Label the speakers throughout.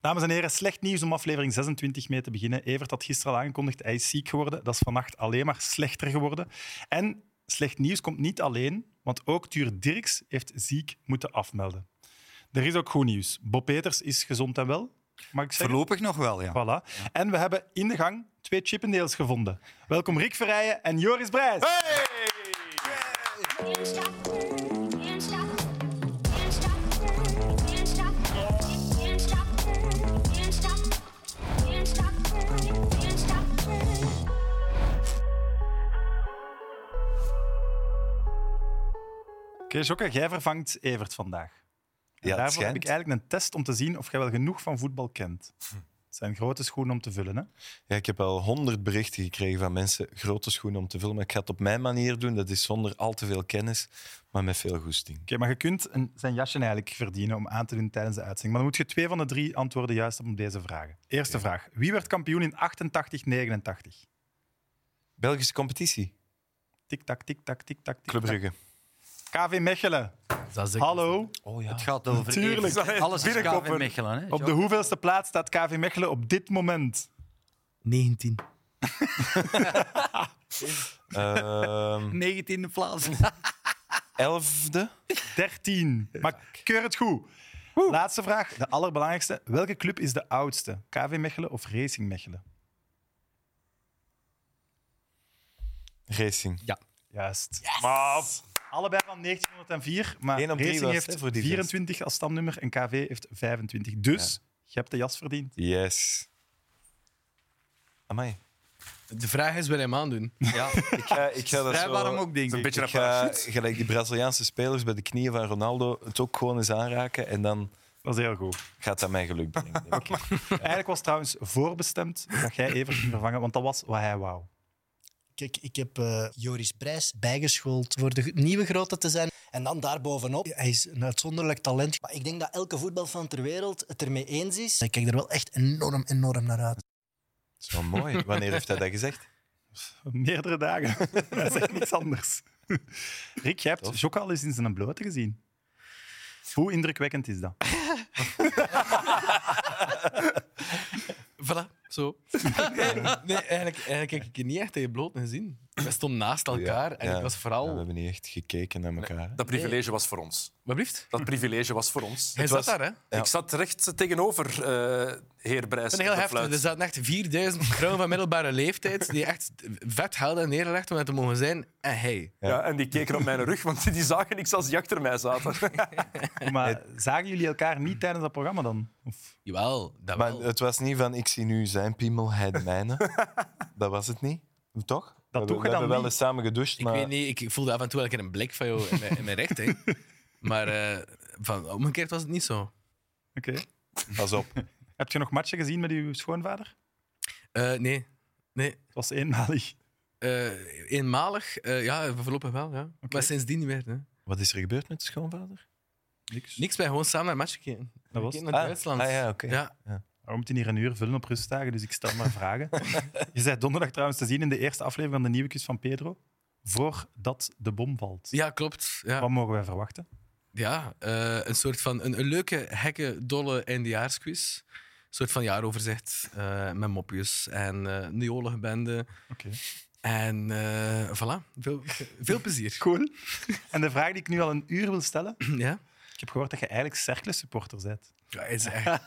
Speaker 1: Dames en heren, slecht nieuws om aflevering 26 mee te beginnen. Evert had gisteren al aangekondigd, hij is ziek geworden. Dat is vannacht alleen maar slechter geworden. En slecht nieuws komt niet alleen, want ook Tuur Dirks heeft ziek moeten afmelden. Er is ook goed nieuws. Bob Peters is gezond en wel, mag ik zeggen.
Speaker 2: Voorlopig nog wel, ja.
Speaker 1: Voilà. En we hebben in de gang twee Chippendales gevonden. Welkom Rick Verrijen en Joris Brijs.
Speaker 3: Can't stop, can't stop, can't stop, can't stop, can't stop, can't stop, can't stop, can't stop.
Speaker 1: Oké, Jokke, jij vervangt Evert vandaag. En
Speaker 2: Ja, het
Speaker 1: daarvoor heb ik
Speaker 2: schijnt.
Speaker 1: eigenlijk een test om te zien of jij wel genoeg van voetbal kent. Het zijn grote schoenen om te vullen, hè?
Speaker 4: Ja, ik heb al honderd berichten gekregen van mensen. Grote schoenen om te vullen. Maar ik ga het op mijn manier doen. Dat is zonder al te veel kennis, maar met veel goesting.
Speaker 1: Oké, maar je kunt een, zijn jasje eigenlijk verdienen om aan te doen tijdens de uitzending. Maar dan moet je twee van de drie antwoorden juist hebben op deze vragen. Eerste vraag. Wie werd kampioen in 88-89?
Speaker 4: Belgische competitie.
Speaker 1: Tik-tak, tik-tak, tik-tak,
Speaker 4: Club
Speaker 1: tik-tak.
Speaker 4: Brugge.
Speaker 1: KV Mechelen. Hallo.
Speaker 2: Het gaat over
Speaker 1: Tuurlijk.
Speaker 2: Evert. Alles is
Speaker 1: Binnenkoppen.
Speaker 2: KV Mechelen. Hè?
Speaker 1: Op de hoeveelste plaats staat KV Mechelen op dit moment?
Speaker 5: 19.
Speaker 4: Ehm
Speaker 2: 19e plaats.
Speaker 4: elfde.
Speaker 1: 13. Maar keur het goed. Laatste vraag, de allerbelangrijkste. Welke club is de oudste? KV Mechelen of Racing Mechelen?
Speaker 4: Racing.
Speaker 1: Juist. Maar allebei van 1904, maar
Speaker 4: Eén op drie
Speaker 1: Racing
Speaker 4: was,
Speaker 1: heeft
Speaker 4: hè, voor die
Speaker 1: 24 als stamnummer en KV heeft 25. Dus je hebt de jas verdiend.
Speaker 4: Yes. Amai.
Speaker 5: De vraag is wat hem aandoen.
Speaker 2: Ja,
Speaker 4: Ik ga, ik ga dat
Speaker 2: vrij
Speaker 4: zo-
Speaker 2: warm ook, denk ik. Een beetje
Speaker 4: Ik ga, gelijk die Braziliaanse spelers bij de knieën van Ronaldo, het ook gewoon eens aanraken. En dan
Speaker 1: Dat is heel goed.
Speaker 4: gaat dat mij geluk brengen. denk ik.
Speaker 1: Eigenlijk was het trouwens voorbestemd dat jij Evert ging vervangen, want dat was wat hij wou.
Speaker 6: Kijk, ik heb eh, Joris Brijs bijgeschoold voor de g- nieuwe grote te zijn. En dan daarbovenop, hij is een uitzonderlijk talent. Maar ik denk dat elke voetbalfan ter wereld het ermee eens is. Ik kijk er wel echt enorm, enorm naar uit.
Speaker 4: Dat is wel mooi. Wanneer heeft hij dat gezegd?
Speaker 1: Meerdere dagen. hij zegt niks anders. Rick, jij hebt
Speaker 4: Tof.
Speaker 1: Jokka al eens in zijn blote gezien. Hoe indrukwekkend is dat?
Speaker 5: Voilà, zo. Nee, nee eigenlijk, eigenlijk heb ik je niet echt tegen bloot gezien. We stonden naast elkaar en
Speaker 4: Ja.
Speaker 5: ik was
Speaker 4: Ja, we
Speaker 5: vooral...
Speaker 4: hebben niet echt gekeken naar elkaar. hè.
Speaker 7: Dat privilege was voor ons.
Speaker 5: Wat blieft?
Speaker 7: Dat privilege was voor ons.
Speaker 5: Hij zat
Speaker 4: was-
Speaker 5: daar, hè?
Speaker 4: Ja.
Speaker 7: Ik zat recht tegenover eh heer Brijs.
Speaker 5: Ik ben heel
Speaker 7: op de
Speaker 5: heftig.
Speaker 7: fluit.
Speaker 5: Er zaten echt 4000 vrouwen van middelbare leeftijd die echt vet helden neerlegden om het te mogen zijn. En hij.
Speaker 7: Ja, en die keken op mijn rug, want die zagen niks als die achter mij zaten.
Speaker 1: Maar zagen jullie elkaar niet tijdens dat programma dan? Of...
Speaker 5: Jawel, dat
Speaker 4: Maar
Speaker 5: wel.
Speaker 4: het was niet van ik zie nu zijn piemel, hij de mijne. dat was het niet, toch? we hebben-
Speaker 1: doe je
Speaker 4: we
Speaker 1: dan
Speaker 4: hebben wel
Speaker 1: niet.
Speaker 4: eens samen gedoucht,
Speaker 5: ik
Speaker 4: maar
Speaker 5: weet niet, ik- ik voelde af en toe elke keer een blik van jou in mijn, in mijn richting. Maar eh van, omgekeerd was het niet zo.
Speaker 1: Oké.
Speaker 4: pas op.
Speaker 1: Heb je nog matchen gezien met uw schoonvader?
Speaker 5: Eh, nee, nee.
Speaker 1: Het was eenmalig.
Speaker 5: Eh, eenmalig, eh, ja, voorlopig wel. Ja. Maar sindsdien niet meer. Hè.
Speaker 4: Wat is er gebeurd met de schoonvader?
Speaker 5: Niks bij gewoon samen naar een match gekeken.
Speaker 1: Dat was...
Speaker 5: Gekeken naar
Speaker 4: Ah,
Speaker 5: Duitsland.
Speaker 4: ah ja, oké.
Speaker 5: Ja,
Speaker 1: We moeten hier een uur vullen op rustdagen, dus ik stel maar vragen. Je bent donderdag trouwens te zien in de eerste aflevering van de nieuwe kus van Pedro. Voordat de bom valt.
Speaker 5: ja, klopt. Ja,
Speaker 1: Wat mogen wij verwachten?
Speaker 5: ja eh, een soort van een, een leuke, gekke, dolle eindejaarsquiz. Een soort van jaaroverzicht eh, met mopjes en eh neolige bende.
Speaker 1: Oké.
Speaker 5: En eh, voilà, veel, veel plezier.
Speaker 1: Cool. En de vraag die ik nu al een uur wil stellen.
Speaker 5: Ja?
Speaker 1: Ik heb gehoord dat je eigenlijk Cercle supporter bent.
Speaker 5: ja, hij is echt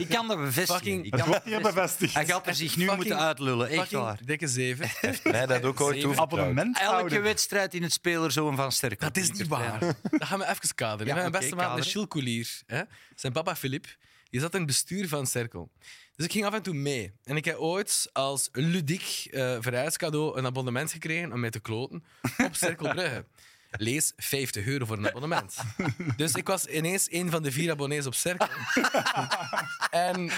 Speaker 2: Ik kan dat bevestigen.
Speaker 5: Fucking-
Speaker 2: Ik
Speaker 1: Dat
Speaker 2: kan
Speaker 1: wordt
Speaker 2: dat
Speaker 1: hier
Speaker 2: bevestigen.
Speaker 1: bevestigd.
Speaker 2: Hij gaat er zich nu moeten uitlullen, echt waar.
Speaker 5: fucking dikke zeven.
Speaker 4: Mij dat ook ooit
Speaker 5: Zeven.
Speaker 4: toevertrouwd.
Speaker 1: Abonnement
Speaker 2: Elke
Speaker 1: houden.
Speaker 2: wedstrijd in het spelerzoon van Sterk.
Speaker 5: Dat is niet waar. Dat gaan we even kaderen.
Speaker 2: Ja,
Speaker 5: Mijn
Speaker 2: oké,
Speaker 5: beste maat, de
Speaker 2: kader.
Speaker 5: Gilles Coulier, hè? zijn papa Philippe, die zat in het bestuur van Cirkel. Dus ik ging af en toe mee. En ik heb ooit als ludiek eh verhuiscadeau een abonnement gekregen om mij te kloten op Cirkel Brugge. Lees 50 euro voor een abonnement. Dus ik was ineens een van de vier abonnees op Cirkel. En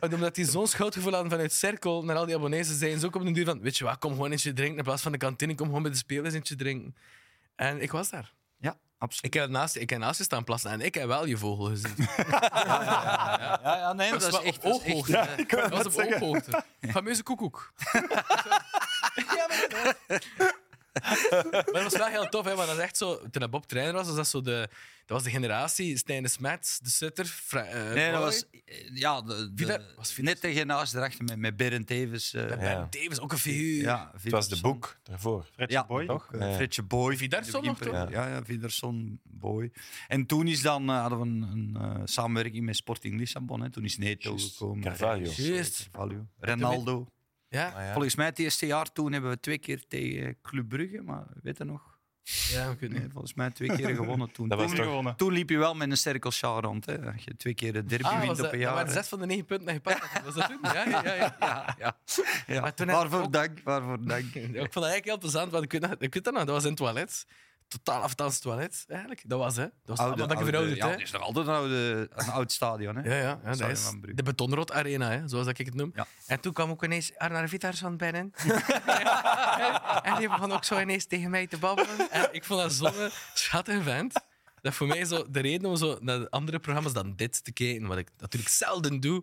Speaker 5: omdat die zo'n schuldgevoel hadden vanuit Cirkel naar al die abonnees, zijn ze ook op de duur van: Weet je wat, kom gewoon eentje drinken. In plaats van de kantine, kom gewoon bij de spelers eentje drinken. En ik was daar.
Speaker 2: Ja, absoluut.
Speaker 5: Ik heb, naast, ik heb naast je staan plassen en ik heb wel je vogel gezien.
Speaker 2: Ja, ja, nee, dat is
Speaker 5: wel
Speaker 2: echt...
Speaker 5: op
Speaker 2: dat is echt,
Speaker 5: ooghoogte.
Speaker 2: eh,
Speaker 1: Ik wou
Speaker 5: Dat was
Speaker 1: net
Speaker 5: op
Speaker 1: zeggen.
Speaker 5: ooghoogte. Fameuze koekoek. Maar dat was wel heel tof, hè, want dat is echt zo... Toen dat Bob trainer was, was dat zo de... Dat was de generatie Stijn de Smet, de Sutter, Fra- eh,
Speaker 2: Nee, dat
Speaker 5: Roy.
Speaker 2: was... eh, Ja, de, de-
Speaker 5: Villa- was Villa-
Speaker 2: net tegen naast erachter met, met Berend Tevens. eh,
Speaker 5: Ben
Speaker 4: Ja.
Speaker 5: Davis, ook een figuur.
Speaker 2: ja,
Speaker 4: Het was de boek daarvoor.
Speaker 1: Fredje
Speaker 2: Ja,
Speaker 1: Boy.
Speaker 4: Toch?
Speaker 2: Uh,
Speaker 5: Eh,
Speaker 4: Ja.
Speaker 2: Fritje Boy.
Speaker 5: Vidarsson nog, toch?
Speaker 2: Ja, ja, Vidarsson, Boy. En toen is dan, eh, hadden we een, een eh, samenwerking met Sporting Lissabon. Hè. Toen is Neto
Speaker 4: Juist.
Speaker 2: gekomen.
Speaker 4: Carvalho.
Speaker 5: Juist.
Speaker 2: Carvalho. Ronaldo.
Speaker 5: Ja,
Speaker 4: Ah, ja.
Speaker 2: Volgens mij het eerste jaar toen hebben we twee keer tegen Club Brugge, maar weet je nog?
Speaker 5: ja, ik weet
Speaker 2: Nee,
Speaker 5: niet.
Speaker 2: volgens mij twee keer gewonnen toen.
Speaker 4: Dat was
Speaker 2: toen,
Speaker 4: toch-
Speaker 1: gewonnen.
Speaker 2: toen liep je wel met een cirkelsjaar rond. Hè. Als je twee keer de derby
Speaker 5: Ah, was
Speaker 2: wint
Speaker 5: dat,
Speaker 2: op een
Speaker 5: dat
Speaker 2: jaar.
Speaker 5: waren
Speaker 2: hè.
Speaker 5: zes van de negen punten dat je pakt. had. Was dat toen? Ja, ja, ja. ja.
Speaker 2: Ja, ja. ja.
Speaker 5: Maar toen heb ik
Speaker 2: waarvoor
Speaker 5: ook-
Speaker 2: dank, waarvoor dank.
Speaker 5: Ik vond dat eigenlijk heel plezant, want ik weet, nog- ik weet dat nog, dat was in het toilet. Totaal afstands toilet, eigenlijk. Dat was, hè. Dat was allemaal dat je verouderd,
Speaker 2: ja,
Speaker 5: hè.
Speaker 2: het is nog altijd een, oude, een oud stadion. Hè.
Speaker 5: Ja, ja, ja dat
Speaker 2: Stadion
Speaker 5: is
Speaker 2: van Brugge.
Speaker 5: de betonrot arena, hè, zoals dat ik het noem.
Speaker 2: Ja.
Speaker 5: En toen kwam ook ineens Arnar Vitarsson binnen. en die begon ook zo ineens tegen mij te babbelen. En ik vond dat zo'n schattig vent. Dat voor mij zo de reden om zo naar andere programma's dan dit te kijken, wat ik natuurlijk zelden doe,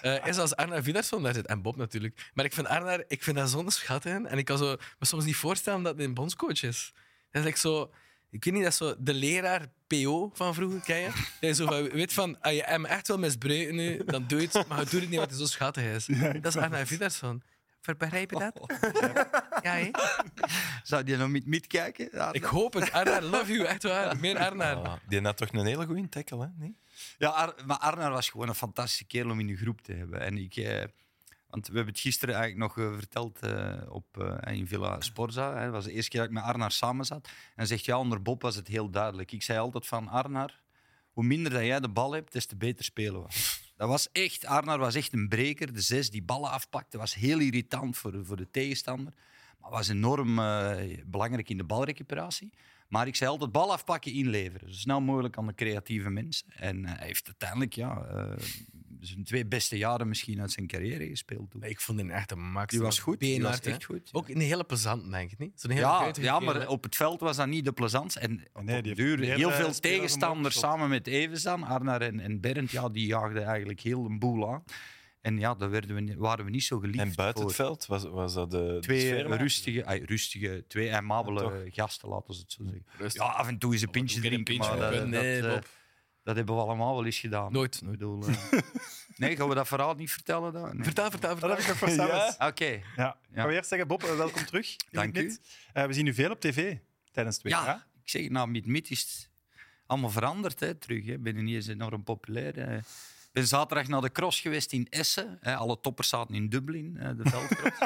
Speaker 5: eh, is als Arnar Vidarsson daar zit. En Bob natuurlijk. Maar ik vind Arnar, ik vind dat zo'n schat in. En ik kan zo, me soms niet voorstellen dat hij een bondscoach is. Dat is echt zo... Ik weet niet, dat is zo de leraar PO van vroeger, ken je? Dat je zo van, weet van, als je hem echt wil misbruiken nu, dan doe je het, maar doe het niet, want hij zo schattig is. dat is Arna Vidarsson. Begrijp je dat?
Speaker 2: Oh,
Speaker 5: Ja, hè?
Speaker 2: Zou je nog niet meekijken? Ja,
Speaker 5: Ik hoop het. Arna, love you. Echt waar. Meer Arna.
Speaker 4: Ah, Die had toch een hele goede tackle, hè? Nee?
Speaker 2: Ja, Ar- maar Arnar was gewoon een fantastische kerel om in de groep te hebben. En ik, eh, want we hebben het gisteren eigenlijk nog eh, verteld eh, op, eh, in Villa Sporza. Hè. Dat was de eerste keer dat ik met Arnar samen zat. En hij zegt ja, onder Bob was het heel duidelijk. Ik zei altijd van Arnar, hoe minder dat jij de bal hebt, des te beter spelen we. Dat was echt, Arnar was echt een breker. De zes die ballen afpakte, was heel irritant voor, voor de tegenstander. Maar was enorm eh, belangrijk in de balrecuperatie. Maar ik zei altijd bal afpakken, inleveren. Zo snel mogelijk aan de creatieve mensen. En eh, hij heeft uiteindelijk ja, eh, zijn twee beste jaren misschien uit zijn carrière gespeeld. Toen.
Speaker 5: Ik vond hem echt een max.
Speaker 2: Die was goed. Die was
Speaker 5: Beenhard,
Speaker 2: echt
Speaker 5: hè.
Speaker 2: goed.
Speaker 5: Ook een hele plezant, denk ik niet. Zo'n hele
Speaker 2: Ja,
Speaker 5: guitige
Speaker 2: ja,
Speaker 5: kerel,
Speaker 2: maar
Speaker 5: hè.
Speaker 2: op het veld was dat niet de plezant. En
Speaker 4: Oh,
Speaker 2: op
Speaker 1: die
Speaker 2: op de
Speaker 1: heeft
Speaker 2: duur,
Speaker 1: meer,
Speaker 2: heel
Speaker 1: eh,
Speaker 2: veel
Speaker 1: spelers
Speaker 2: tegenstanders
Speaker 1: omhoog
Speaker 2: samen met Evensan, Arnar en, en Berend, ja, die jaagden eigenlijk heel een boel aan. En ja, daar werden we, niet- waren we niet zo geliefd
Speaker 4: En buiten
Speaker 2: voor.
Speaker 4: het veld was, was dat de, de
Speaker 2: Twee
Speaker 4: sfeer, maar?
Speaker 2: rustige, ay, rustige, twee
Speaker 4: Ja,
Speaker 2: aimabele gasten, laten we het zo zeggen.
Speaker 5: Rustig.
Speaker 2: Ja, af en toe is een pintje
Speaker 5: doe ik in een
Speaker 2: drinken,
Speaker 5: pintje?
Speaker 2: maar dat,
Speaker 5: Nee,
Speaker 2: dat, eh,
Speaker 5: Bob.
Speaker 2: dat hebben we allemaal wel eens gedaan.
Speaker 5: Nooit.
Speaker 2: Ik bedoel, eh, nee, gaan we dat verhaal niet vertellen dan? Nee.
Speaker 5: Vertel,
Speaker 1: Dat
Speaker 5: vertel, vertel.
Speaker 1: heb ik nog voor Samus.
Speaker 2: Oké.
Speaker 1: Ja.
Speaker 2: Ja.
Speaker 1: Gaan we eerst zeggen, Bob, eh, welkom terug. in
Speaker 2: Dank
Speaker 1: Mid
Speaker 2: u.
Speaker 1: Mid. Eh, we zien u veel op tv tijdens het WK.
Speaker 2: Ja, ik zeg, nou, met MIT is het allemaal veranderd hè, terug. hè. Ik ben niet eens enorm populair. hè. Ik ben zaterdag naar de cross geweest in Essen. hè. Alle toppers zaten in Dublin, hè, de veldcross.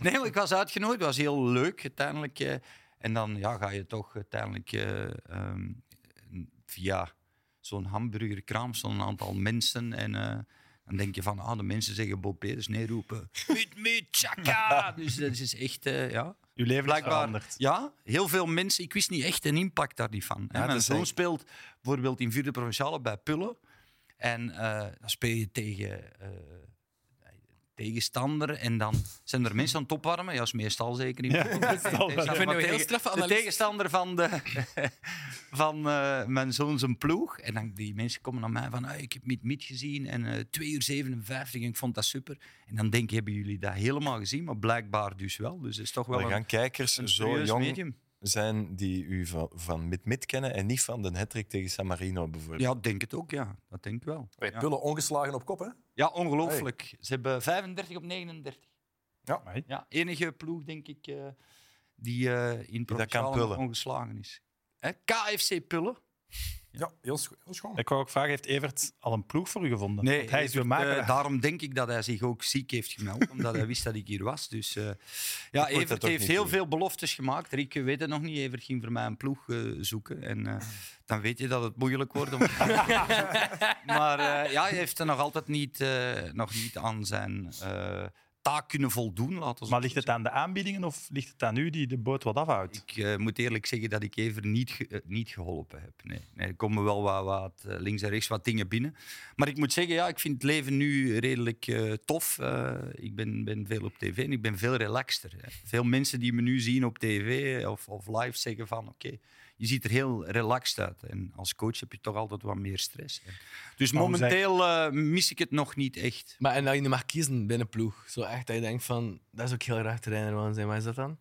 Speaker 2: nee, maar ik was uitgenodigd. Het was heel leuk uiteindelijk. eh. En dan ja, ga je toch uiteindelijk eh, ehm, via zo'n hamburgerkraam, zo'n aantal mensen. En eh, dan denk je van, ah, de mensen zeggen Bob Peters. Nee, roepen, meet me, chaka. dus dat is echt, eh, ja...
Speaker 1: Uw leven is
Speaker 2: Blijkbaar,
Speaker 1: veranderd.
Speaker 2: ja, heel veel mensen. Ik wist niet echt een impact daar niet van.
Speaker 4: Ja,
Speaker 2: hè. Mijn
Speaker 4: dat is
Speaker 2: zoon
Speaker 4: echt-
Speaker 2: speelt bijvoorbeeld in vierde provinciale bij Pullen. En eh, dan speel je tegen eh, tegenstander. En dan zijn er mensen aan het opwarmen. Ja, is meestal zeker niet.
Speaker 1: Ja, meestal wel.
Speaker 5: Ik vind het een heel straffe
Speaker 2: de
Speaker 5: analyse.
Speaker 2: tegenstander van, de, van eh, mijn zoon zijn ploeg. En dan die mensen komen naar mij van, "Ah, ik heb Meet Meet gezien en eh 2 uur 57 en ik vond dat super. En dan denk ik, hebben jullie dat helemaal gezien? Maar blijkbaar dus wel. Dus het is toch wel
Speaker 4: Er
Speaker 2: een
Speaker 4: gaan kijkers
Speaker 2: een
Speaker 4: zo
Speaker 2: serieus
Speaker 4: jong
Speaker 2: medium.
Speaker 4: zijn die u van, van mid-mid kennen en niet van de hattrick tegen San Marino bijvoorbeeld.
Speaker 2: Ja, ik denk het ook, ja. Dat denk ik wel.
Speaker 7: Red
Speaker 2: Ja.
Speaker 7: Pullen ongeslagen op kop, hè?
Speaker 2: Ja, ongelooflijk. Ze hebben 35 op 39.
Speaker 1: Amai.
Speaker 2: Ja, enige ploeg, denk ik, eh, die eh in
Speaker 4: kan
Speaker 2: provinciaal nog
Speaker 4: pullen.
Speaker 2: ongeslagen is. Hè? KFC Pullen.
Speaker 7: Ja, heel, scho- heel schoon.
Speaker 1: Ik wou ook vragen, heeft Evert al een ploeg voor u gevonden? Want hij is uw
Speaker 2: Evert,
Speaker 1: maker.
Speaker 2: eh, daarom denk ik dat hij zich ook ziek heeft gemeld, omdat hij wist dat ik hier was. Dus eh, ja,
Speaker 4: dat
Speaker 2: Evert
Speaker 4: ook
Speaker 2: heeft
Speaker 4: niet
Speaker 2: heel
Speaker 4: doen.
Speaker 2: veel beloftes gemaakt. Rick eh, weet het nog niet. Evert ging voor mij een ploeg eh, zoeken. En eh, dan weet je dat het moeilijk wordt. Om... maar eh, ja, hij heeft er nog altijd niet, eh, nog niet aan zijn eh, taak kunnen voldoen. Laten we
Speaker 1: maar ligt het aan de aanbiedingen of ligt het aan u die de boot wat afhoudt?
Speaker 2: ik eh, moet eerlijk zeggen dat ik even niet, ge- eh, niet geholpen heb. Nee. Nee, er komen wel wat, wat, eh, links en rechts wat dingen binnen. Maar ik moet zeggen, ja, ik vind het leven nu redelijk eh, tof. Eh, ik ben, ben veel op tv en ik ben veel relaxter. Hè. Veel mensen die me nu zien op tv eh, of, of live zeggen van oké, je ziet er heel relaxed uit. En als coach heb je toch altijd wat meer stress. Dus
Speaker 1: Maar hoe zei-
Speaker 2: momenteel eh, mis ik het nog niet echt.
Speaker 5: Maar en dat je nu mag kiezen binnen ploeg. Zo echt dat je denkt van, dat is ook heel raar trainer willen zijn. Wat is dat dan?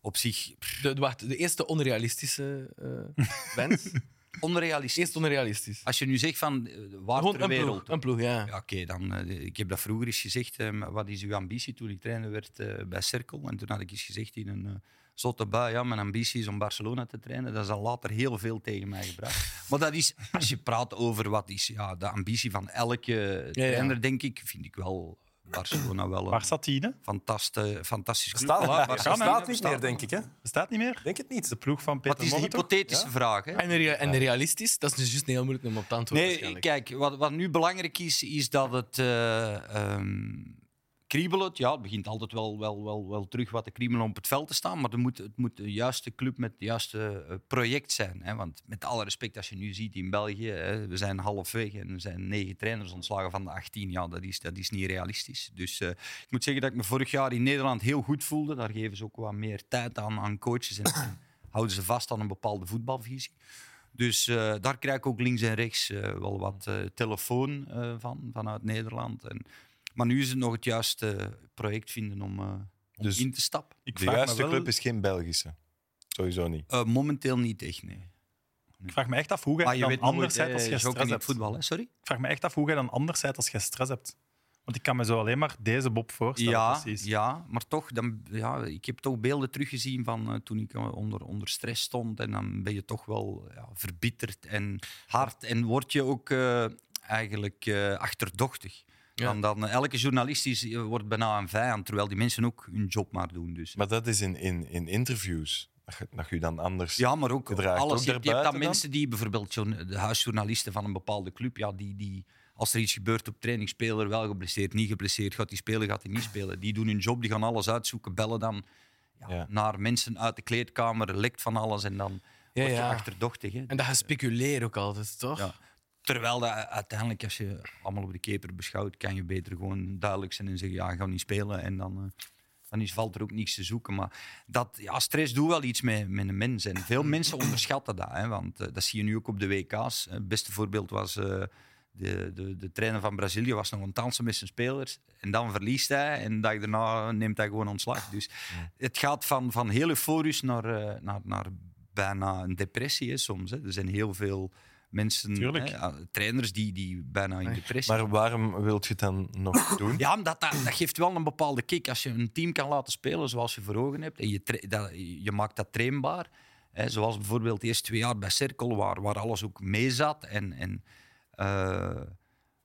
Speaker 2: op zich pff,
Speaker 5: De, wacht, de eerste onrealistische eh wens.
Speaker 2: onrealistisch.
Speaker 5: Eerst onrealistisch.
Speaker 2: Als je nu zegt van eh, waar
Speaker 5: Gewoon
Speaker 2: ter
Speaker 5: een
Speaker 2: wereld.
Speaker 5: ploeg, een ploeg, ja.
Speaker 2: Ja, Oké, dan, eh, ik heb dat vroeger eens gezegd. eh, maar wat is uw ambitie toen ik trainer werd eh, bij Cirkel? En toen had ik eens gezegd in een eh, zotte bui, ja, mijn ambitie is om Barcelona te trainen. Dat is al later heel veel tegen mij gebruikt. maar dat is, als je praat over wat is ja, de ambitie van elke
Speaker 5: ja.
Speaker 2: trainer, denk ik, vind ik wel Barcelona wel
Speaker 1: Waar
Speaker 2: een
Speaker 1: staat die? hè?
Speaker 2: fantastisch, fantastisch club.
Speaker 7: Staat,
Speaker 2: Voilà,
Speaker 7: ja,
Speaker 2: Barcelona
Speaker 7: staat niet
Speaker 2: bestaat.
Speaker 7: meer, denk ik. Hè?
Speaker 1: Bestaat niet meer?
Speaker 7: Denk het niet.
Speaker 1: De ploeg van
Speaker 2: Maar
Speaker 1: Peter
Speaker 2: het is een
Speaker 1: Morgen, toch?
Speaker 2: hypothetische vraag. Hè?
Speaker 5: En, rea- en realistisch, dat is dus juist heel moeilijk om op te antwoorden.
Speaker 2: Nee,
Speaker 5: waarschijnlijk.
Speaker 2: kijk, wat, wat nu belangrijk is, is dat het eh, ehm, kriebelen, ja, het begint altijd wel, wel, wel, wel terug wat te kriebelen om op het veld te staan, maar er moet, het moet de juiste club met het juiste eh, project zijn. Hè? Want met alle respect, als je nu ziet in België, hè, we zijn halfweg en er zijn negen trainers ontslagen van de 18, ja, dat is, dat is niet realistisch. Dus eh, ik moet zeggen dat ik me vorig jaar in Nederland heel goed voelde. Daar geven ze ook wat meer tijd aan, aan coaches en houden ze vast aan een bepaalde voetbalvisie. Dus eh, daar krijg ik ook links en rechts eh, wel wat eh, telefoon eh, van, vanuit Nederland. En, maar nu is het nog het juiste project vinden om, eh, om
Speaker 4: Dus-
Speaker 2: in te stappen.
Speaker 1: Ik
Speaker 4: De
Speaker 1: vraag me
Speaker 4: juiste
Speaker 1: wel-
Speaker 4: club is geen Belgische. Sowieso niet.
Speaker 2: Eh, momenteel niet echt, nee.
Speaker 1: Ik vraag me echt af hoe jij
Speaker 2: Maar je
Speaker 1: dan
Speaker 2: weet
Speaker 1: anders
Speaker 2: nooit,
Speaker 1: bent als
Speaker 2: eh,
Speaker 1: je
Speaker 2: is ook
Speaker 1: stress
Speaker 2: in
Speaker 1: hebt.
Speaker 2: het voetbal, hè? sorry?
Speaker 1: Ik vraag me echt af hoe jij dan anders bent als je stress hebt. Want ik kan me zo alleen maar deze Bob voorstellen.
Speaker 2: Ja,
Speaker 1: precies.
Speaker 2: ja, maar toch, dan, ja, ik heb toch beelden teruggezien van eh, toen ik eh, onder, onder stress stond. En dan ben je toch wel ja, verbitterd en hard. En word je ook eh, eigenlijk eh, achterdochtig.
Speaker 5: Ja.
Speaker 2: Dan, dan, eh, elke journalist is, eh, wordt bijna een vijand, terwijl die mensen ook hun job maar doen. Dus.
Speaker 4: Maar dat is in, in, in interviews. Dat je- Dat je je dan anders...
Speaker 2: Ja, maar ook
Speaker 4: Je draagt
Speaker 2: alles.
Speaker 4: ook
Speaker 2: je, hebt- je hebt dan,
Speaker 4: daarbuiten dan?
Speaker 2: mensen die bijvoorbeeld zo'n- de huisjournalisten van een bepaalde club, ja, die, die, als er iets gebeurt op training, speler wel geblesseerd, niet geblesseerd, gaat die spelen, gaat hij niet spelen. Die doen hun job, die gaan alles uitzoeken, bellen dan ja,
Speaker 4: Ja.
Speaker 2: naar mensen uit de kleedkamer, lekt van alles en dan
Speaker 5: Ja,
Speaker 2: word je
Speaker 5: ja.
Speaker 2: achterdochtig. Hè.
Speaker 5: En dat gespeculeerd ook altijd, toch?
Speaker 2: Ja. Terwijl dat, uiteindelijk, als je allemaal op de keper beschouwt, kan je beter gewoon duidelijk zijn en zeggen: ja, ik ga niet spelen. En dan, eh, dan is, valt er ook niets te zoeken. Maar dat, ja, stress doet wel iets met, met een mens. En veel mensen onderschatten dat. Hè, want eh, dat zie je nu ook op de WK's. Het beste voorbeeld was. eh, de, de, de trainer van Brazilië was nog aan het dansen met zijn spelers. En dan verliest hij. En de dag daarna neemt hij gewoon ontslag. Dus het gaat van, van heel euforisch naar, eh, naar, naar bijna een depressie hè, soms. Hè. Er zijn heel veel mensen,
Speaker 1: Tuurlijk.
Speaker 2: hè, ah, trainers, die, die bijna in depressie
Speaker 4: Maar waarom wilt je het dan nog doen?
Speaker 2: ja, omdat dat, dat geeft wel een bepaalde kick. Als je een team kan laten spelen zoals je voor ogen hebt en je, tra- dat, je maakt dat trainbaar. Hè, zoals bijvoorbeeld de eerste twee jaar bij Cirkel, waar, waar alles ook mee zat. En, en eh,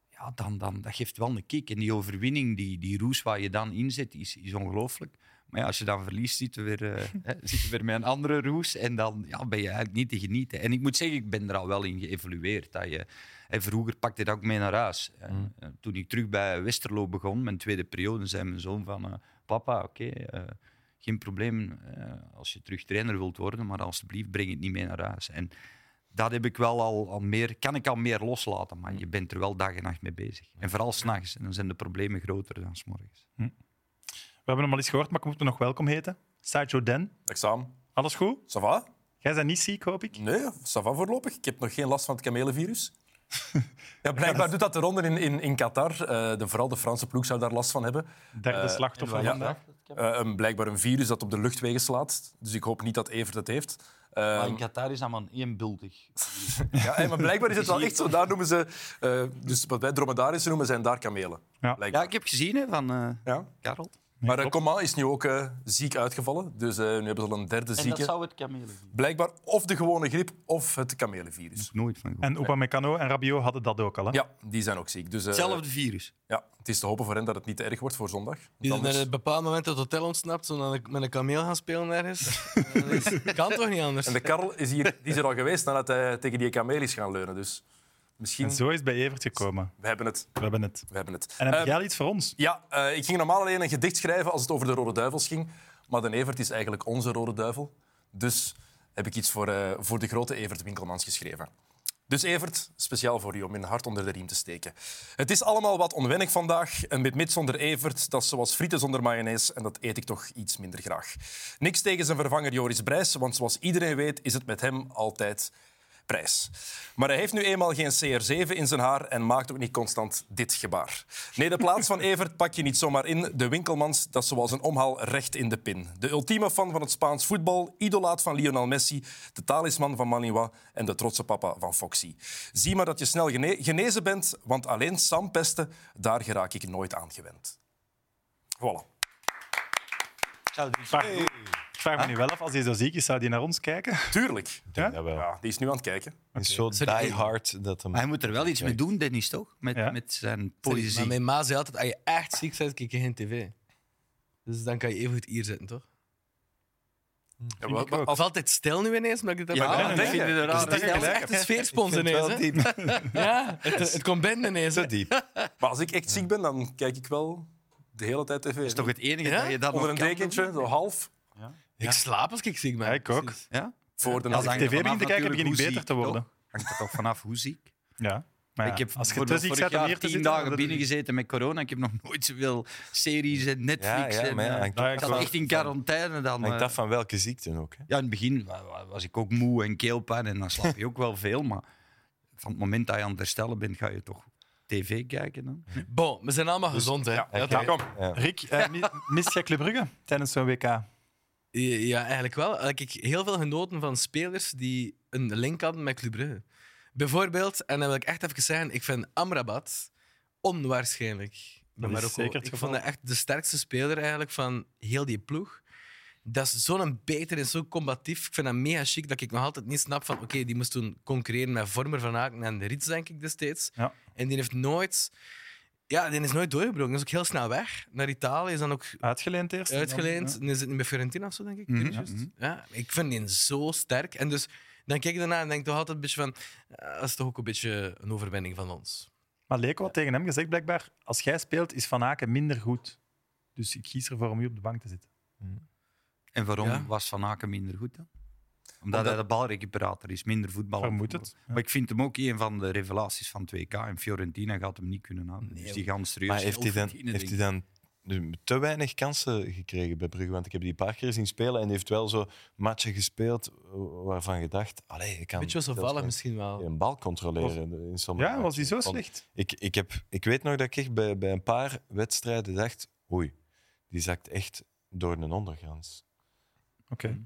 Speaker 2: ja, dan, dan, dat geeft wel een kick. En die overwinning, die, die roes waar je dan in zit, is, is ongelooflijk. Maar ja, als je dan verliest, zit je, weer, eh, hè, zit je weer met een andere roes. En dan ja, ben je eigenlijk niet te genieten. En ik moet zeggen, ik ben er al wel in geëvolueerd. Dat je, hè, vroeger pakte je dat ook mee naar huis. hè. Eh, Toen ik terug bij Westerlo begon, mijn tweede periode, zei mijn zoon van... eh, Papa, oké, eh, geen probleem eh, als je terug trainer wilt worden, maar alsjeblieft breng het niet mee naar huis. En dat heb ik wel al, al meer, kan ik al meer loslaten, maar je bent er wel dag en nacht mee bezig. En vooral s'nachts, en dan zijn de problemen groter dan s'morgens.
Speaker 1: We hebben hem al eens gehoord, maar ik moet hem nog welkom heten. Sideshow Dan,
Speaker 7: Examen.
Speaker 1: alles goed?
Speaker 7: Ça va?
Speaker 1: Jij bent niet ziek, hoop ik?
Speaker 7: Nee, ça va voorlopig. Ik heb nog geen last van het kamelenvirus. Ja, blijkbaar doet dat de ronde in, in, in Qatar. Eh, de, vooral de Franse ploeg zou daar last van hebben.
Speaker 1: Derde
Speaker 7: Eh,
Speaker 1: slachtoffer
Speaker 7: en waar-
Speaker 1: vandaag.
Speaker 7: Eh, een, blijkbaar een virus dat op de luchtwegen slaat. Dus ik hoop niet dat Evert het heeft. Eh,
Speaker 2: Qatar is dat maar eenbuldig.
Speaker 7: ja, eh, maar blijkbaar is het wel echt zo. Daar noemen ze... eh, dus wat wij dromedarissen noemen, zijn daar kamelen.
Speaker 1: Ja.
Speaker 2: Ja,
Speaker 7: Blijkbaar.
Speaker 2: ik heb gezien hè, van eh
Speaker 7: Ja.
Speaker 2: Karel.
Speaker 7: Maar eh, Coman is nu ook eh, ziek uitgevallen. Dus eh, nu hebben ze al een derde zieke.
Speaker 2: het kamelen zijn.
Speaker 7: Blijkbaar of de gewone griep of het kamelenvirus.
Speaker 2: Nooit van gehoord.
Speaker 1: En Upamecano en Rabiot hadden dat ook al. Hè?
Speaker 7: Ja, die zijn ook ziek. Dus, eh,
Speaker 2: Hetzelfde virus.
Speaker 7: Ja, het is te hopen voor hen dat het niet te erg wordt voor zondag.
Speaker 5: Die
Speaker 7: Dan
Speaker 5: dan
Speaker 7: is-
Speaker 5: op een bepaald moment het hotel ontsnapt, zodat ik met een kameel gaan spelen ergens. Dat is- kan toch niet anders?
Speaker 7: En de Karl is, hier, die is er al geweest nadat hij tegen die kameel is gaan leunen. Dus misschien...
Speaker 1: En zo is het bij Evert gekomen.
Speaker 7: We hebben het.
Speaker 1: We hebben het.
Speaker 7: We hebben het.
Speaker 1: En heb
Speaker 7: Eh,
Speaker 1: jij al iets voor ons?
Speaker 7: ja, eh, ik ging normaal alleen een gedicht schrijven als het over de Rode Duivels ging. Maar de Evert is eigenlijk onze Rode Duivel. Dus heb ik iets voor, eh, voor de grote Evert Winkelmans geschreven. Dus Evert, speciaal voor u om in hart onder de riem te steken. Het is allemaal wat onwennig vandaag. Een mitmit zonder Evert, dat is zoals frieten zonder mayonaise. En dat eet ik toch iets minder graag. Niks tegen zijn vervanger Joris Brijs, want zoals iedereen weet is het met hem altijd prijs. Maar hij heeft nu eenmaal geen CR7 in zijn haar en maakt ook niet constant dit gebaar. Nee, de plaats van Evert pak je niet zomaar in. De winkelmans, dat is zoals een omhaal recht in de pin. De ultieme fan van het Spaans voetbal, idolaat van Lionel Messi, de talisman van Malinois en de trotse papa van Foxy. Zie maar dat je snel gene- genezen bent, want alleen Sam pesten, daar geraak ik nooit aan gewend. Voilà.
Speaker 1: Ik vraag, ik vraag me nu wel af, als hij zo ziek is, zou hij naar ons kijken?
Speaker 7: Tuurlijk.
Speaker 1: Ja?
Speaker 4: Jawel.
Speaker 7: Ja, die is nu aan het kijken.
Speaker 4: Het is zo
Speaker 5: Sorry.
Speaker 4: die hard dat hem...
Speaker 2: Maar hij moet er wel iets mee doen, Dennis, toch? Met,
Speaker 1: Ja.
Speaker 2: met zijn
Speaker 5: Maar
Speaker 2: poëzie.
Speaker 5: mijn ma zei altijd, als je echt ziek bent, kijk je geen tv. Dus dan kan je even goed hier zitten, toch?
Speaker 7: Ja, wel-
Speaker 1: ik ook.
Speaker 5: Of altijd stil nu ineens, omdat ik dit heb
Speaker 1: nee, nee,
Speaker 5: aangehaald.
Speaker 1: nee.
Speaker 2: vind je er
Speaker 5: Dus dat
Speaker 2: raar
Speaker 5: is
Speaker 2: in?
Speaker 5: echt een
Speaker 4: Ik
Speaker 5: sfeerspons
Speaker 4: vind
Speaker 5: ineens.
Speaker 4: het
Speaker 5: hè.
Speaker 4: wel diep.
Speaker 5: Ja, het, het komt binnen ineens. hè.
Speaker 4: Te diep.
Speaker 7: Maar als ik echt ziek ben, dan kijk ik wel de hele tijd tv.
Speaker 2: Dat is toch het enige
Speaker 5: Ja?
Speaker 2: dat je dat
Speaker 7: Onder
Speaker 2: nog
Speaker 7: een
Speaker 2: kan
Speaker 7: dekentje, zo half.
Speaker 5: Ik slaap als ik ziek ben.
Speaker 1: Ja, ik ook.
Speaker 5: Precies.
Speaker 2: doen? Ja?
Speaker 7: Voor de
Speaker 2: Dat
Speaker 7: nacht.
Speaker 2: hangt
Speaker 1: ik
Speaker 2: er
Speaker 1: tv begin te
Speaker 2: vanaf
Speaker 1: kijken,
Speaker 2: natuurlijk
Speaker 1: begin ik beter
Speaker 2: hoe ziek,
Speaker 1: te worden.
Speaker 2: toch? Hangt er toch vanaf hoe ziek?
Speaker 1: Ja. Maar ja,
Speaker 2: ik heb
Speaker 1: als je te
Speaker 2: bijvoorbeeld
Speaker 1: ziek
Speaker 2: vorig
Speaker 1: bent om
Speaker 2: jaar
Speaker 1: hier te
Speaker 2: tien
Speaker 1: zitten...
Speaker 2: dagen
Speaker 1: dan-
Speaker 2: binnen gezeten met corona. Ik heb nog nooit zoveel series en
Speaker 4: Ja,
Speaker 2: Netflix.
Speaker 4: ja,
Speaker 2: en,
Speaker 4: maar ja,
Speaker 2: eh,
Speaker 4: hangt,
Speaker 1: Nou Ja,
Speaker 2: ik
Speaker 4: ook
Speaker 2: zat
Speaker 4: van,
Speaker 2: echt in quarantaine dan.
Speaker 4: hangt
Speaker 2: eh.
Speaker 4: af van welke ziekte ook. Hè.
Speaker 2: Ja, in het begin wa- wa- was ik ook moe en keelpijn en dan slaap je ook wel veel. Maar van het moment dat je aan het herstellen bent, ga je toch tv kijken dan.
Speaker 5: Bon, we zijn allemaal
Speaker 1: Dus
Speaker 5: gezond, hè? Ja,
Speaker 4: Ja,
Speaker 5: toch?
Speaker 4: Ja.
Speaker 1: Rick, eh, mi- mist jij Club Brugge tijdens zo'n WK?
Speaker 5: Ja, Eh, ja, eigenlijk wel. Ik heb heel veel genoten van spelers die een link hadden met Club Brugge. Bijvoorbeeld, en dan wil ik echt even zeggen, ik vind Amrabat onwaarschijnlijk.
Speaker 1: Dat
Speaker 5: bij
Speaker 1: is
Speaker 5: Marokko.
Speaker 1: zeker het
Speaker 5: ik
Speaker 1: geval.
Speaker 5: vond hem echt de sterkste speler eigenlijk van heel die ploeg. Dat is zo'n beter en zo combatief. Ik vind dat mega chic dat ik nog altijd niet snap van... Oké, die moest toen concurreren met Vormer van Aken en de Rits, denk ik, destijds.
Speaker 1: Ja.
Speaker 5: En die heeft nooit... Ja, die is nooit doorgebroken. Die is ook heel snel weg naar Italië. Is dan ook
Speaker 1: Uitgeleend eerst?
Speaker 5: uitgeleend.
Speaker 1: Ja.
Speaker 5: En is het niet bij Fiorentina of zo, denk ik.
Speaker 2: Mhm,
Speaker 5: Dirk, juist?
Speaker 2: mhm.
Speaker 5: Ja, ik vind die zo sterk. En dus dan kijk ik daarna en denk toch altijd een beetje van... eh, Dat is toch ook een beetje een overwinning van ons.
Speaker 1: Maar Leko had tegen hem gezegd blijkbaar, als jij speelt, is Van Aken minder goed. Dus ik kies ervoor om u op de bank te zitten.
Speaker 2: En waarom
Speaker 5: Ja.
Speaker 2: was Van Aken minder goed dan? Omdat, hij de balrecuperator is, minder voetballer.
Speaker 1: Vermoed het.
Speaker 2: Maar ik vind hem ook een van de revelaties van 2K. En Fiorentina gaat hem niet kunnen houden. dus die gaan serieus
Speaker 4: Maar heeft hij
Speaker 2: geld
Speaker 4: dan,
Speaker 2: verdienen,
Speaker 4: heeft hij
Speaker 2: denk
Speaker 4: dan te weinig kansen gekregen bij Brugge? Want ik heb die een paar keer zien spelen en die heeft wel zo matchen gespeeld waarvan je dacht... Allee, ik kan
Speaker 5: Beetje zo
Speaker 4: zelfs
Speaker 5: vallen
Speaker 4: geen-
Speaker 5: misschien wel.
Speaker 4: een bal controleren. in sommige
Speaker 1: Ja, was hij zo
Speaker 4: matchen. Want
Speaker 1: slecht?
Speaker 4: Ik, ik, heb, ik weet nog dat ik echt bij, bij een paar wedstrijden dacht... Oei, die zakt echt door een ondergrens.
Speaker 1: Oké.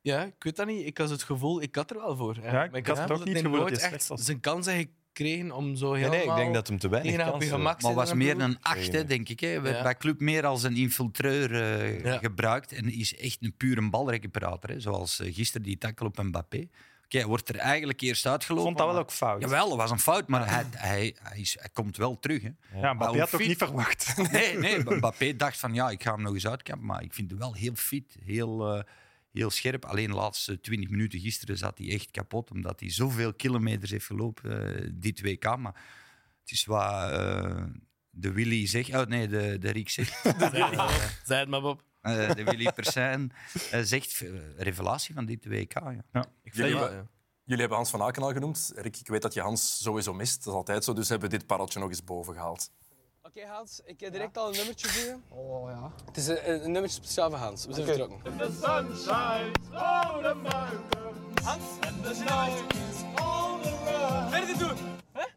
Speaker 5: Ja, ik weet dat niet. Ik had het gevoel... Ik had er wel voor. hè.
Speaker 1: Ja, ik
Speaker 5: Maar
Speaker 1: had het ook niet
Speaker 5: hij
Speaker 1: gevoel dat
Speaker 5: nooit
Speaker 1: hij
Speaker 5: echt
Speaker 1: slecht was.
Speaker 5: zijn kansen gekregen om zo
Speaker 4: Nee,
Speaker 5: helemaal...
Speaker 4: nee, ik denk dat hem te weinig
Speaker 5: iedereen op je
Speaker 4: kansen...
Speaker 5: gemak
Speaker 2: ik. Maar
Speaker 5: zit
Speaker 2: was
Speaker 5: in een
Speaker 2: meer
Speaker 5: ploeg.
Speaker 2: een acht, hè, denk ik. Hè. Werd
Speaker 5: Ja.
Speaker 2: Bij Club meer als een infiltreur eh,
Speaker 5: Ja.
Speaker 2: gebruikt. En is echt een pure balrecuperator. Hè. Zoals eh, gisteren die tackle op Mbappé. Oké, hij wordt er eigenlijk eerst
Speaker 1: Ik
Speaker 2: uitgelopen.
Speaker 1: vond dat wel
Speaker 2: maar-
Speaker 1: ook fout.
Speaker 2: Jawel, dat was een fout, maar hij, hij, hij, is, hij komt wel terug. Hè.
Speaker 1: Ja, Mbappé
Speaker 2: Maar
Speaker 1: had
Speaker 2: hoe
Speaker 1: ook
Speaker 2: fit-
Speaker 1: niet verwacht.
Speaker 2: Nee, nee, Mbappé dacht van ja, ik ga hem nog eens uitkampen. Maar ik vind hem wel heel fit, heel, eh, heel scherp. Alleen de laatste 20 minuten gisteren zat hij echt kapot. Omdat hij zoveel kilometers heeft gelopen eh, dit WK. Maar het is wat eh, de Willy zegt. Oh nee, de, de Riek zegt.
Speaker 5: Zei het maar, Bob.
Speaker 2: eh, de Willy Persijn eh, zegt eh, revelatie van dit WK. Ja.
Speaker 5: Ik
Speaker 7: Jullie,
Speaker 5: vind
Speaker 7: hebben-
Speaker 5: dat, ja.
Speaker 7: jullie hebben Hans van Aken al genoemd. Rick, ik weet dat je Hans sowieso mist. Dat is altijd zo. Dus hebben we dit pareltje nog eens boven gehaald.
Speaker 5: Oké, Hans, ik heb direct al een nummertje voor je. Oh ja. Het is een, een nummertje speciaal voor Hans. We zijn vertrokken.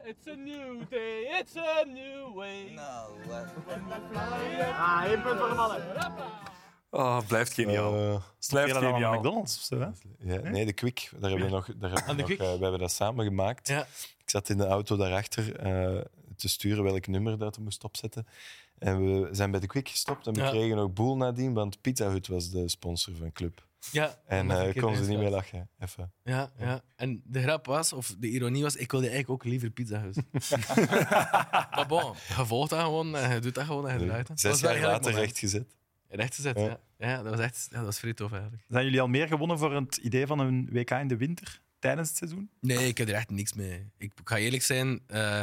Speaker 8: It's a new day, it's a new way. No,
Speaker 5: Nou, eh.
Speaker 8: Ah, één punt voor de mannen.
Speaker 7: Oh, blijft geniaal.
Speaker 4: Eh,
Speaker 7: blijft
Speaker 1: Spelen dan aan
Speaker 7: geniaal.
Speaker 1: McDonald's of zo, hè?
Speaker 4: Ja, nee, de Kwik. Daar hebben we nog, daar hebben we, nog,
Speaker 5: Kwik?
Speaker 4: eh, we hebben dat samen gemaakt.
Speaker 5: Ja.
Speaker 4: Ik zat in de auto daarachter eh, te sturen welk nummer dat we moest opzetten. En we zijn bij de Kwik gestopt en we
Speaker 5: Ja.
Speaker 4: kregen ook boel nadien, want Pizza Hut was de sponsor van Club.
Speaker 5: Ja,
Speaker 4: En
Speaker 5: dat
Speaker 4: eh,
Speaker 5: heb
Speaker 4: ik
Speaker 5: een
Speaker 4: kon
Speaker 5: keer
Speaker 4: ze niet
Speaker 5: meegemaakt.
Speaker 4: meer lachen. Even.
Speaker 5: Ja, ja. En de grap was, of de ironie was, ik wilde eigenlijk ook liever Pizza Huis. maar bon, je volgt dat gewoon, en je doet dat gewoon en je draait dat.
Speaker 4: Zes
Speaker 5: Dat was wel
Speaker 4: jaar
Speaker 5: een heerlijk
Speaker 4: later
Speaker 5: moment.
Speaker 4: rechtgezet.
Speaker 5: Recht gezet, ja.
Speaker 4: Ja.
Speaker 5: Ja. dat was echt, ja, dat was vrij tof eigenlijk.
Speaker 1: Zijn jullie al meer gewonnen voor het idee van een WK in de winter tijdens het seizoen?
Speaker 5: Nee, ik heb er echt niks mee. Ik ga eerlijk zijn, eh,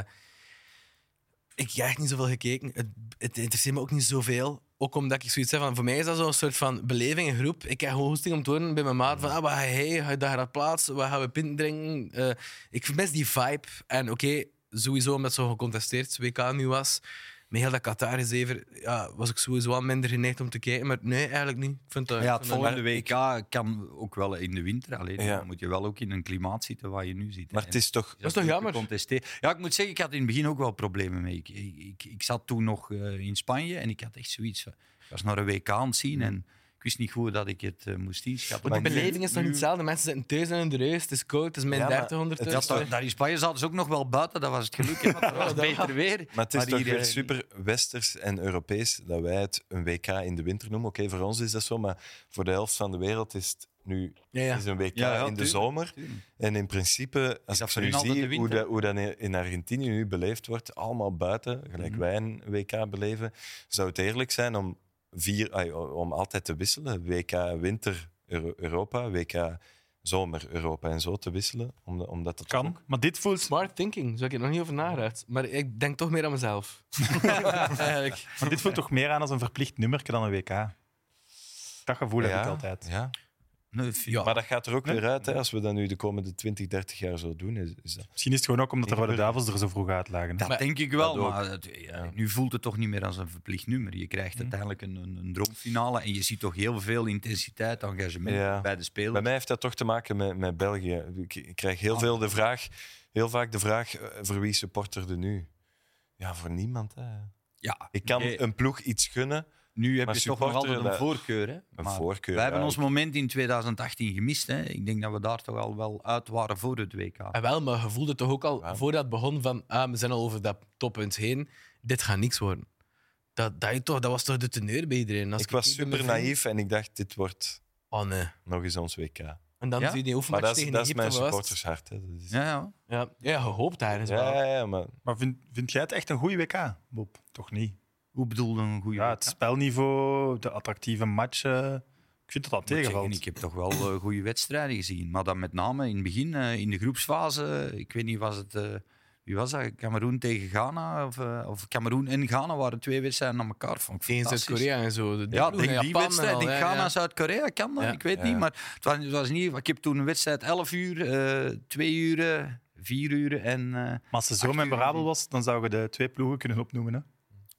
Speaker 5: ik heb echt niet zoveel gekeken. Het, het interesseert me ook niet zoveel. Ook omdat ik zoiets heb van, voor mij is dat zo'n soort van beleving in groep. Ik heb gewoon hoesting om te horen bij mijn maat van, ah, wat ga je, ga je daar gaat plaatsen, wat gaan we pint drinken? Eh, ik mis die vibe. En oké, sowieso omdat het zo gecontesteerd WK nu was, met heel dat Qatar-zever ja, was ik sowieso al minder geneigd om te kijken. Maar nee, eigenlijk niet. Ik vind dat,
Speaker 2: Ja,
Speaker 5: ik
Speaker 2: het
Speaker 5: vind dat-
Speaker 2: volgende WK kan ook wel in de winter. Alleen
Speaker 4: Ja.
Speaker 2: dan moet je wel ook in een klimaat zitten waar je nu zit.
Speaker 4: Maar
Speaker 2: En-
Speaker 4: het is toch...
Speaker 5: Dat is toch jammer?
Speaker 2: Contesteren. Ja, ik moet zeggen, ik had in het begin ook wel problemen mee. Ik, ik, ik, ik zat toen nog eh, in Spanje en ik had echt zoiets van... Ik was naar een WK aan het zien en ik wist niet hoe dat ik het eh, moest inschatten.
Speaker 5: Want de
Speaker 2: Maar nu-
Speaker 5: beleving is toch niet hetzelfde? Mensen zitten thuis en in de reus, het is koud, het dus, is min
Speaker 4: Ja, maar
Speaker 5: 30
Speaker 4: het
Speaker 2: Ja,
Speaker 5: ondertussen.
Speaker 2: daar, daar in Spanje zaten ze ook nog wel buiten, dat was het geluk. hè, want dat was beter weer.
Speaker 4: Maar het is toch
Speaker 2: hier,
Speaker 4: weer
Speaker 2: eh,
Speaker 4: super westers en Europees dat wij het een WK in de winter noemen. Oké, voor ons is dat zo, maar voor de helft van de wereld is het nu
Speaker 5: Ja, ja.
Speaker 4: is een WK
Speaker 2: Ja, ja,
Speaker 4: in de
Speaker 2: tuurlijk,
Speaker 4: zomer.
Speaker 2: tuurlijk.
Speaker 4: En in principe, als
Speaker 2: dat
Speaker 4: ik
Speaker 2: voor
Speaker 4: nu
Speaker 2: hun altijd de
Speaker 4: zie hoe
Speaker 2: winter?
Speaker 4: dat, hoe dat in- in Argentinië nu beleefd wordt, allemaal buiten, gelijk wij een WK beleven, zou het eerlijk zijn om, vier, ai, om altijd te wisselen. WK winter Euro- Europa, WK zomer Europa en zo te wisselen. Omdat, omdat dat
Speaker 1: Kan,
Speaker 4: ook-
Speaker 1: maar dit voelt...
Speaker 5: Smart thinking, zo heb ik er nog niet over nagedacht. Maar ik denk toch meer aan mezelf. eigenlijk.
Speaker 1: Maar dit voelt toch meer aan als een verplicht nummerke dan een WK. Dat gevoel heb
Speaker 4: Ja.
Speaker 1: ik altijd.
Speaker 4: Ja.
Speaker 2: Nee,
Speaker 5: Ja.
Speaker 4: Maar dat gaat er ook weer uit, hè, als we dat nu de komende 20, 30 jaar zo doen. Is, is dat...
Speaker 1: Misschien is het gewoon ook omdat de Rode Duivels er zo vroeg uit lagen.
Speaker 2: Dat
Speaker 5: Maar-
Speaker 2: denk ik wel,
Speaker 4: dat ook.
Speaker 2: maar het- ja, nu voelt het toch niet meer als een verplicht nummer. Je krijgt uiteindelijk een, een, een droomfinale en je ziet toch heel veel intensiteit, engagement
Speaker 4: Ja.
Speaker 2: bij de spelers.
Speaker 4: Bij mij heeft dat toch te maken met, met België. Ik, ik krijg
Speaker 2: Ah.
Speaker 4: heel, veel de vraag, heel vaak de vraag, eh, voor wie supporter er nu? Ja, voor niemand. Hè.
Speaker 2: ja,
Speaker 4: Ik kan
Speaker 2: Oké.
Speaker 4: een ploeg iets gunnen,
Speaker 2: nu heb
Speaker 4: Maar
Speaker 2: je toch nog
Speaker 4: supporteren,
Speaker 2: altijd een
Speaker 4: dat-
Speaker 2: voorkeur. Hè?
Speaker 4: een
Speaker 2: Maar
Speaker 4: voorkeur.
Speaker 2: wij hebben
Speaker 4: ja.
Speaker 2: ons moment in 2018 gemist. Hè? Ik denk dat we daar toch al wel uit waren voor het WK.
Speaker 5: En wel, maar je voelde toch ook al
Speaker 4: Ja.
Speaker 5: voordat het begon van ah, we zijn al over dat toppunt heen, dit gaat niks worden. Dat, dat, je toch, dat was toch de teneur bij iedereen? Als
Speaker 4: Ik was
Speaker 5: keek bij
Speaker 4: super
Speaker 5: mijn vrienden-
Speaker 4: naïef en ik dacht, dit wordt
Speaker 5: Oh nee.
Speaker 4: nog eens ons WK.
Speaker 5: En dan zie
Speaker 2: Ja?
Speaker 5: je die
Speaker 4: Maar
Speaker 5: oefenmatch
Speaker 4: dat is,
Speaker 5: tegen
Speaker 4: dat is
Speaker 5: Egypte.
Speaker 4: mijn
Speaker 5: wat was het?
Speaker 4: supportershart. Hè. Dat is...
Speaker 2: Ja, ja.
Speaker 5: Ja, ja, je hoopt daar eens
Speaker 4: Ja,
Speaker 5: wel.
Speaker 4: ja, ja, maar
Speaker 2: Eh,
Speaker 1: Maar vind, vind jij het echt een goede WK, Bob? Toch niet?
Speaker 2: Hoe bedoelde een goede
Speaker 1: Ja,
Speaker 2: WK?
Speaker 1: het spelniveau, de attractieve matchen. Ik vind dat dat
Speaker 2: Ik moet zeggen,
Speaker 1: tegenvalt.
Speaker 2: ik heb toch wel eh, goede wedstrijden gezien. Maar dan met name in het begin, eh, in de groepsfase. Ik weet niet, was het... eh, wie was dat? Cameroen tegen Ghana? Of, eh, of Cameroen en Ghana waren twee wedstrijden aan elkaar. Vond ik
Speaker 5: Tegen
Speaker 2: fantastisch.
Speaker 5: Zuid-Korea en zo. De- de
Speaker 2: Ja,
Speaker 5: ploeg
Speaker 2: denk
Speaker 5: en
Speaker 2: die
Speaker 5: Japan en
Speaker 2: wedstrijd.
Speaker 5: al,
Speaker 2: Denk
Speaker 5: ja,
Speaker 2: Ghana,
Speaker 5: ja.
Speaker 2: Zuid-Korea, kan dat?
Speaker 5: Ja.
Speaker 2: Ik weet
Speaker 4: Ja.
Speaker 2: niet. Maar het was, het was niet... Ik heb toen een wedstrijd 11 uur, eh 2 uur, eh, 4 uur en... eh,
Speaker 1: Maar als ze zo
Speaker 2: Acht uur
Speaker 1: memorabel
Speaker 2: gezien.
Speaker 1: was, dan zouden we de twee ploegen kunnen opnoemen. Hè?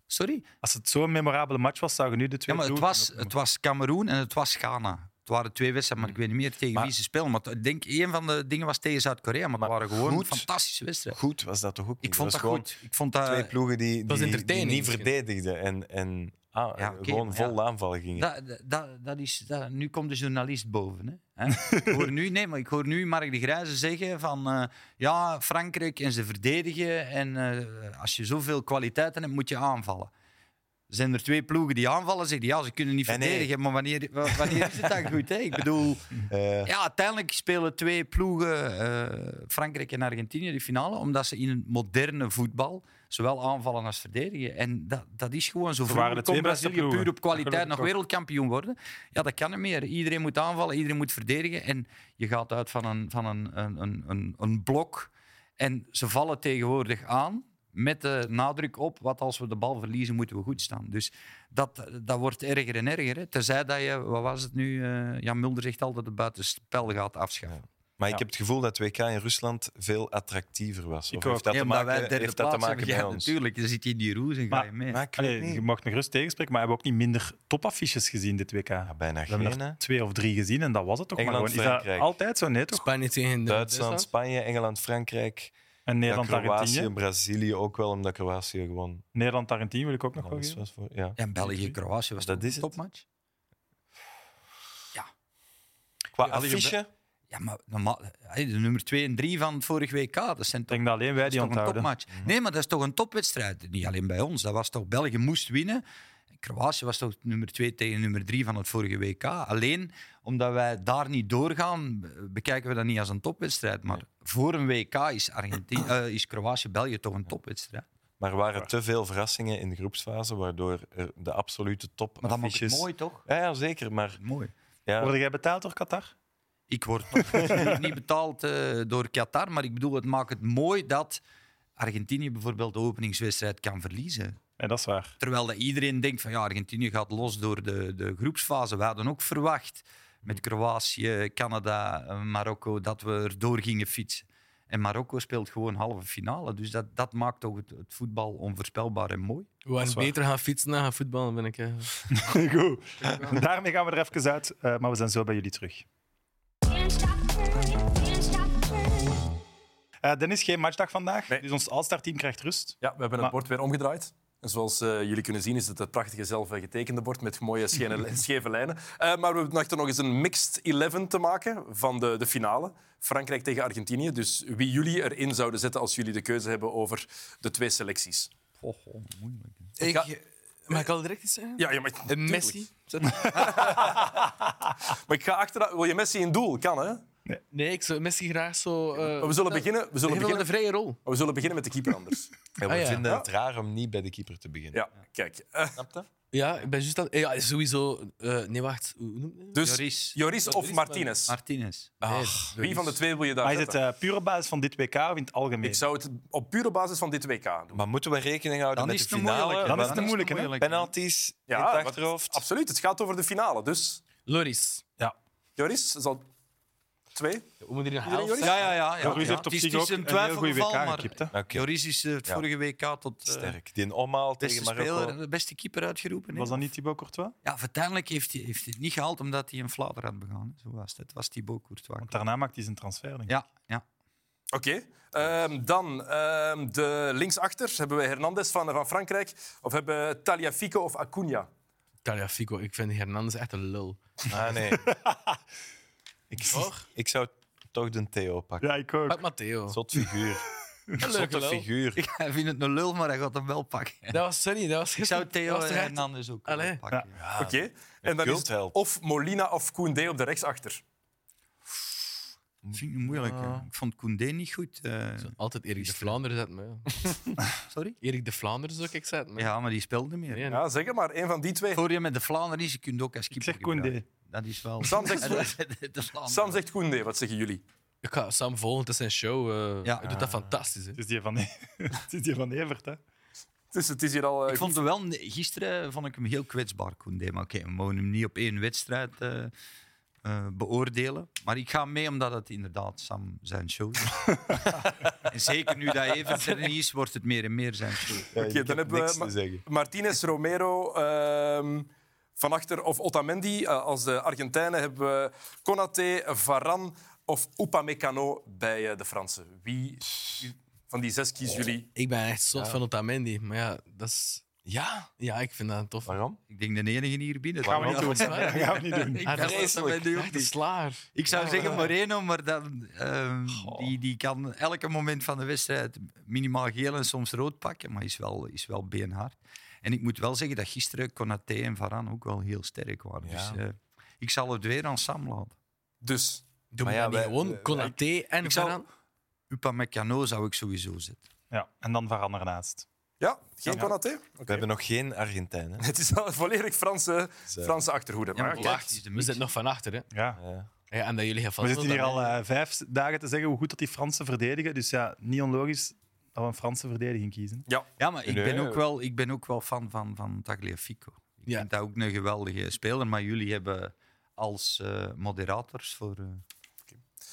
Speaker 2: sorry?
Speaker 1: Als het zo'n memorabele match was, zouden we nu de
Speaker 2: Ja,
Speaker 1: twee
Speaker 2: maar het
Speaker 1: ploegen
Speaker 2: was,
Speaker 1: kunnen
Speaker 2: het
Speaker 1: opnoemen.
Speaker 2: was Cameroen en het was Ghana. Het waren twee wedstrijden, maar ik weet niet meer tegen
Speaker 4: Mm. Maar-
Speaker 2: wie ze spelen. Maar ik denk, een van de dingen was tegen Zuid-Korea, maar,
Speaker 4: Maar
Speaker 2: het waren gewoon
Speaker 4: goed-
Speaker 2: fantastische wedstrijden.
Speaker 4: goed was dat toch ook niet?
Speaker 2: Ik vond dat
Speaker 4: was gewoon
Speaker 2: goed. Ik vond dat,
Speaker 4: Twee ploegen die,
Speaker 5: was
Speaker 4: die, die
Speaker 5: entertaining
Speaker 4: niet
Speaker 5: misschien.
Speaker 4: verdedigden en, en ah,
Speaker 2: Ja, oké,
Speaker 4: gewoon
Speaker 2: maar
Speaker 4: vol aanvallen gingen.
Speaker 2: dat, dat, dat is, dat, nu komt de journalist boven. Hè? Hè? ik, hoor nu, nee, maar ik hoor nu Mark de Grijze zeggen van eh, ja, Frankrijk en ze verdedigen en eh, als je zoveel kwaliteiten hebt, moet je aanvallen. Zijn er twee ploegen die aanvallen? Zeggen die, ja, ze kunnen niet
Speaker 4: Nee, nee.
Speaker 2: verdedigen, maar wanneer, wa- wanneer is het dan goed? Hè? Ik bedoel,
Speaker 4: Eh,
Speaker 2: Ja, uiteindelijk spelen twee ploegen, eh, Frankrijk en Argentinië, de finale. Omdat ze in het moderne voetbal zowel aanvallen als verdedigen. En dat, dat is gewoon zo.
Speaker 1: waren de
Speaker 2: Vroeger kon
Speaker 1: twee beste
Speaker 2: Brazilië
Speaker 1: ploegen.
Speaker 2: puur op kwaliteit
Speaker 1: Gelukkig
Speaker 2: nog
Speaker 1: toch.
Speaker 2: wereldkampioen worden. Ja, dat kan niet meer. Iedereen moet aanvallen, iedereen moet verdedigen. En je gaat uit van een, van een, een, een, een, een blok. En ze vallen tegenwoordig aan. Met de nadruk op, wat als we de bal verliezen, moeten we goed staan. Dus dat, dat wordt erger en erger. Hè. Tenzij dat je, wat was het nu? eh ja, Mulder zegt altijd dat het buitenspel gaat afschaffen.
Speaker 4: Maar ik heb het gevoel dat WK in Rusland veel attractiever was.
Speaker 1: Ik
Speaker 4: Of
Speaker 1: ook.
Speaker 4: heeft dat
Speaker 2: Ja,
Speaker 4: te
Speaker 2: omdat wij
Speaker 4: maken,
Speaker 2: derde
Speaker 4: heeft dat te
Speaker 2: plaats
Speaker 4: maken
Speaker 2: hebben.
Speaker 4: bij
Speaker 2: ja,
Speaker 4: ons?
Speaker 2: natuurlijk. Dan zit je in die roes en ga
Speaker 1: Maar-
Speaker 2: je mee.
Speaker 4: Maar ik weet
Speaker 1: Allee,
Speaker 4: niet.
Speaker 1: je mag me gerust tegenspreken, maar hebben we ook niet minder topaffiches gezien dit WK?
Speaker 4: Ja, bijna
Speaker 1: we hebben
Speaker 4: geen.
Speaker 1: er
Speaker 4: hè.
Speaker 1: twee of drie gezien en dat was het toch? maar
Speaker 4: Engeland,
Speaker 1: gewoon, is dat
Speaker 4: Frankrijk.
Speaker 1: altijd zo? Nee, toch?
Speaker 5: Spanje tegen
Speaker 4: Duitsland, Spanje, Engeland, Frankrijk.
Speaker 1: En
Speaker 4: Ja,
Speaker 1: Nederland,
Speaker 4: Kroatië,
Speaker 1: Argentinië.
Speaker 4: Brazilië ook wel, omdat Kroatië gewoon
Speaker 1: Nederland, Argentinië wil ik ook nog wel
Speaker 4: alles
Speaker 1: geven.
Speaker 4: was voor. Ja.
Speaker 2: En België-Kroatië was
Speaker 4: Dat
Speaker 2: dat een
Speaker 4: is het.
Speaker 2: topmatch.
Speaker 4: Qua
Speaker 2: Ja, die
Speaker 4: affiche,
Speaker 2: Ja, maar normaal, hey, de nummer 2 en 3 van het vorige WK, dat zijn
Speaker 1: Ik
Speaker 2: toch,
Speaker 1: denk dat alleen wij
Speaker 2: dat is
Speaker 1: die
Speaker 2: toch een
Speaker 1: onthouden. Mhm.
Speaker 2: topmatch. Nee, maar dat is toch een topwedstrijd. Niet alleen bij ons. Dat was toch, België moest winnen. Kroatië was toch nummer 2 tegen nummer 3 van het vorige WK. Alleen omdat wij daar niet doorgaan, be- bekijken we dat niet als een topwedstrijd. Maar voor een WK is, Argentinië- eh, is Kroatië-België toch een topwedstrijd.
Speaker 4: maar er waren te veel verrassingen in de groepsfase, waardoor er de absolute top
Speaker 2: Maar dat maakt het
Speaker 4: affiches...
Speaker 2: mooi, toch?
Speaker 4: Ja, ja, zeker. Maar
Speaker 2: Mooi.
Speaker 4: ja,
Speaker 1: Word jij betaald door Qatar?
Speaker 2: Ik word nog absoluut niet betaald eh, door Qatar, maar ik bedoel, het maakt het mooi dat Argentinië bijvoorbeeld de openingswedstrijd kan verliezen.
Speaker 1: Nee, dat is waar.
Speaker 2: Terwijl dat iedereen denkt van ja, Argentinië gaat los door de, de groepsfase. We hadden ook verwacht met Kroatië, Canada, eh, Marokko dat we erdoor gingen fietsen. En Marokko speelt gewoon halve finale. Dus dat, dat maakt ook het, het voetbal onvoorspelbaar en mooi.
Speaker 5: We waren
Speaker 1: waar.
Speaker 5: beter gaan fietsen dan gaan voetballen, ben ik. eh.
Speaker 1: Goed. Daarmee gaan we er even uit, eh, maar we zijn zo bij jullie terug.
Speaker 3: Can't stop, can't stop,
Speaker 1: Eh Dennis, geen matchdag vandaag,
Speaker 7: Nee.
Speaker 1: dus ons All-Star-team krijgt rust.
Speaker 7: Ja, we hebben
Speaker 1: Maar-
Speaker 7: het bord weer omgedraaid. En zoals eh, jullie kunnen zien is het het prachtige zelf eh, getekende bord met mooie schene- scheve lijnen. Eh, maar we dachten nog eens een mixed 11 te maken van de, de finale. Frankrijk tegen Argentinië. Dus wie jullie erin zouden zetten als jullie de keuze hebben over de twee selecties.
Speaker 2: Oh, oh, moeilijk. hè.
Speaker 5: Ik,
Speaker 7: ga-
Speaker 5: Mag ik al direct iets zeggen?
Speaker 7: Ja, ja maar,
Speaker 5: Een
Speaker 7: tuurlijk.
Speaker 5: Messi?
Speaker 7: Maar ik ga achteraan. Wil je Messi in doel? Kan, hè?
Speaker 5: Nee, ik zou Messi graag zo... eh,
Speaker 7: Maar we zullen beginnen, we zullen
Speaker 5: geef hem
Speaker 7: beginnen,
Speaker 5: een vrije rol.
Speaker 7: we zullen beginnen met de keeper anders.
Speaker 4: Ja, we
Speaker 5: Ah, ja.
Speaker 4: vinden
Speaker 7: Ja.
Speaker 4: het raar om niet bij de keeper te beginnen.
Speaker 7: Ja, kijk. Eh,
Speaker 4: Snap je?
Speaker 5: Ja, ik ben juist aan... eh, Ja, sowieso... eh, nee, wacht. Hoe Ah, hoe noem je dat?
Speaker 7: dus
Speaker 2: Joris.
Speaker 7: Joris, of Martinez?
Speaker 2: Martinez.
Speaker 7: Ach, wie van de twee wil je daar
Speaker 1: Maar is het
Speaker 7: zetten?
Speaker 1: eh puur op basis van dit WK of in het
Speaker 5: eh,
Speaker 1: algemeen?
Speaker 7: Ik zou het op pure basis van dit WK doen.
Speaker 4: Maar moeten we rekening houden
Speaker 2: Dan
Speaker 4: met
Speaker 2: is
Speaker 4: de
Speaker 2: het een
Speaker 4: finale?
Speaker 2: moeilijke.
Speaker 1: Dan is
Speaker 4: Want
Speaker 1: het een moeilijke, hè?
Speaker 4: Penalties in
Speaker 7: want-
Speaker 4: het achterhoofd.
Speaker 7: Absoluut, het gaat over de finale. Dus
Speaker 5: Loris.
Speaker 7: Joris zal twee.
Speaker 5: We moeten hier een
Speaker 7: Iedereen,
Speaker 5: helft
Speaker 7: Joris?
Speaker 5: zijn.
Speaker 2: Ja, ja, ja. ja.
Speaker 1: Joris
Speaker 2: Ja.
Speaker 1: heeft op
Speaker 2: Het is-
Speaker 1: zich
Speaker 2: het
Speaker 1: ook
Speaker 2: is
Speaker 1: een
Speaker 2: een
Speaker 1: heel goed WK
Speaker 2: twijfelgeval, maar
Speaker 1: gekiept. hè.
Speaker 4: Oké,
Speaker 2: Joris is eh, het
Speaker 4: Ja.
Speaker 2: vorige WK tot eh,
Speaker 4: sterk. Die een omhaal
Speaker 2: beste
Speaker 4: tegen Marokko.
Speaker 2: speler, en de beste keeper uitgeroepen. hè.
Speaker 1: Was dat niet Thibaut Courtois?
Speaker 2: Ja, of uiteindelijk heeft hij, heeft hij het niet gehaald omdat hij een flater had begaan. hè. Zo was het. Het was Thibaut Courtois.
Speaker 1: Want daarna maakt hij zijn transfer, denk ik.
Speaker 2: Ja, ja.
Speaker 7: Oké. Ehm, dan ehm, de linksachter hebben we Hernandez van, van Frankrijk. Of hebben we Taliafico of Acuna.
Speaker 5: Taliafico, ik vind Hernandez echt een lul.
Speaker 4: Ah, nee. ik,
Speaker 5: Toch?
Speaker 4: ik zou toch de Theo pakken.
Speaker 1: ik ook.
Speaker 5: Pak Matteo.
Speaker 4: Zot figuur.
Speaker 5: Een leuke
Speaker 4: Zotte
Speaker 5: lul.
Speaker 4: figuur.
Speaker 2: Hij vindt het een lul, maar hij gaat hem wel pakken.
Speaker 5: Dat was sorry, dat was
Speaker 2: Ik zou
Speaker 5: gisteren-
Speaker 2: Theo eh,
Speaker 5: dat was toch echt-
Speaker 2: Hernandez ook
Speaker 5: Allee.
Speaker 2: willen pakken. Ja.
Speaker 4: Ah,
Speaker 7: Oké. En dan is het
Speaker 4: cultheld.
Speaker 7: of Molina of Koundé op de rechtsachter.
Speaker 2: Vind ik moeilijk. hè.
Speaker 5: Ja.
Speaker 2: Ik vond Koundé niet goed. eh.
Speaker 5: Altijd Erik de Vlaanderen zetten, maar ja.
Speaker 2: sorry?
Speaker 5: Erik de Vlaanderen zou ik zetten. maar-
Speaker 2: Ja, maar die speelde meer.
Speaker 5: Nee, nee.
Speaker 7: Ja, zeg het maar één van die twee.
Speaker 2: Voor je met de Vlaanderen is, je kunt ook als
Speaker 1: Ik
Speaker 2: keeper
Speaker 1: zeg Koundé.
Speaker 2: gebruiken. Dat is wel...
Speaker 7: Sam zegt-
Speaker 2: de Vlaanderen.
Speaker 7: Sam zegt Koundé, wat zeggen jullie?
Speaker 5: Ik ga Sam volgen, het is zijn show. eh,
Speaker 2: Ja.
Speaker 5: Hij doet dat fantastisch. Hè.
Speaker 1: Het is die van, E- het is die van Evert, hè.
Speaker 7: Dus het is hier al... eh,
Speaker 2: Ik vond hem wel, gisteren vond ik hem heel kwetsbaar, Koundé. Maar oké, we mogen hem niet op één wedstrijd eh, eh, beoordelen. Maar ik ga mee omdat het inderdaad Sam zijn show is. en zeker nu dat Evert er niet is, wordt het meer en meer zijn show.
Speaker 4: Ja, ik
Speaker 7: dan
Speaker 4: heb
Speaker 7: hebben we
Speaker 4: niks
Speaker 7: Ma-
Speaker 4: te zeggen.
Speaker 7: Martinez, Romero, ehm Van Achter of Otamendi. Eh, als de Argentijnen hebben we Konaté, Varane of Upamecano bij eh, de Fransen. Wie wie van die zes kiezen jullie?
Speaker 5: Ik ben echt zot van Otamendi, maar ja, dat is...
Speaker 4: Ja,
Speaker 5: Ja, ik vind dat tof.
Speaker 4: waarom?
Speaker 2: Ik denk de enige hier binnen.
Speaker 1: Gaan we niet
Speaker 2: Ja,
Speaker 1: doen.
Speaker 5: dat is waar.
Speaker 1: Dat gaan we niet doen.
Speaker 5: Hij
Speaker 2: dat
Speaker 5: is
Speaker 2: is Otamendi ook
Speaker 5: echt een
Speaker 2: niet.
Speaker 5: slaar.
Speaker 2: Ik zou zeggen Moreno, maar dan, ehm, die, die kan elke moment van de wedstrijd minimaal geel en soms rood pakken, maar is wel, is wel beenhard. En ik moet wel zeggen dat gisteren Konaté en Varane ook wel heel sterk waren. Dus eh, ik zal het weer aan Sam laten.
Speaker 7: Dus
Speaker 5: Doe
Speaker 4: Maar
Speaker 5: maar
Speaker 4: ja,
Speaker 5: dat niet
Speaker 4: wij-
Speaker 5: gewoon.
Speaker 4: wij-
Speaker 5: Konaté en
Speaker 2: zou-
Speaker 5: Varane.
Speaker 2: Upamecano zou ik sowieso zetten.
Speaker 1: Ja, en dan Varane ernaast.
Speaker 7: ja, geen Konaté?
Speaker 4: We hebben nog geen Argentijn. Hè?
Speaker 7: Het is al volledig Franse,
Speaker 4: Zo.
Speaker 7: Franse achterhoede. Maar ja, kijk,
Speaker 5: Wacht, we zitten nog van achter. Hè.
Speaker 1: Ja.
Speaker 4: eh, Ja.
Speaker 5: Ja, en dat jullie gaan
Speaker 1: We
Speaker 5: vast
Speaker 1: zitten hier al eh, vijf dagen te zeggen hoe goed dat die Fransen verdedigen. Dus ja, niet onlogisch dat we een Franse verdediging kiezen.
Speaker 2: Ja, maar ik ben
Speaker 4: Nee.
Speaker 2: ook wel, ik ben ook wel fan van, van Tagliafico. Ik
Speaker 5: Ja.
Speaker 2: vind dat ook een geweldige speler, maar jullie hebben als eh, moderators voor eh,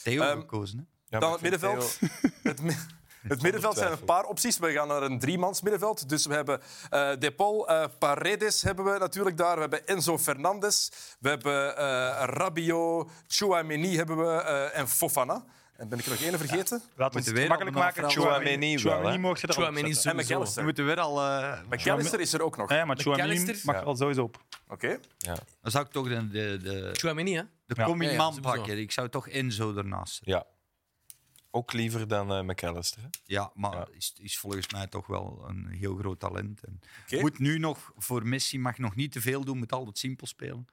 Speaker 2: Theo
Speaker 7: Ehm,
Speaker 2: gekozen. Hè?
Speaker 4: Ja,
Speaker 7: dan
Speaker 4: maar
Speaker 7: het
Speaker 4: ik vind
Speaker 7: middenveld.
Speaker 4: Theo-
Speaker 7: Het, mi- het middenveld zijn een paar opties. We gaan naar een driemans middenveld. Dus we hebben eh Depol, eh, Paredes hebben we natuurlijk daar. We hebben Enzo Fernandes. We hebben eh Rabiot, Chouameni hebben we eh, en Fofana. En ben ik er nog één vergeten?
Speaker 1: Laten we
Speaker 2: Moeten
Speaker 1: het
Speaker 2: we
Speaker 1: makkelijk
Speaker 2: nog
Speaker 1: maken.
Speaker 2: naar
Speaker 4: Chouameni wel,
Speaker 1: Chouameni
Speaker 4: hè?
Speaker 1: mocht je erop
Speaker 5: Chouameni
Speaker 1: zetten.
Speaker 7: En
Speaker 5: sowieso.
Speaker 2: We
Speaker 7: McAllister.
Speaker 2: moeten weer al... eh,
Speaker 7: McAllister is er ook nog.
Speaker 1: Ja, maar Chouameni
Speaker 5: McAllister?
Speaker 1: mag
Speaker 4: Ja.
Speaker 1: er al sowieso op.
Speaker 7: Oké.
Speaker 2: Dan zou ik toch de, de, de,
Speaker 5: Chouameni, hè?
Speaker 2: de
Speaker 1: Ja.
Speaker 2: coming
Speaker 5: Ja, ja,
Speaker 2: man
Speaker 5: sowieso.
Speaker 2: pakken. Ik zou toch Enzo ernaast zetten.
Speaker 4: ja. Ook liever dan eh, McAllister. hè?
Speaker 2: Ja, maar
Speaker 4: Ja.
Speaker 2: Is, is volgens mij toch wel een heel groot talent. En
Speaker 7: Oké.
Speaker 2: Moet nu nog, voor Messi mag nog niet te veel doen, moet altijd simpel spelen.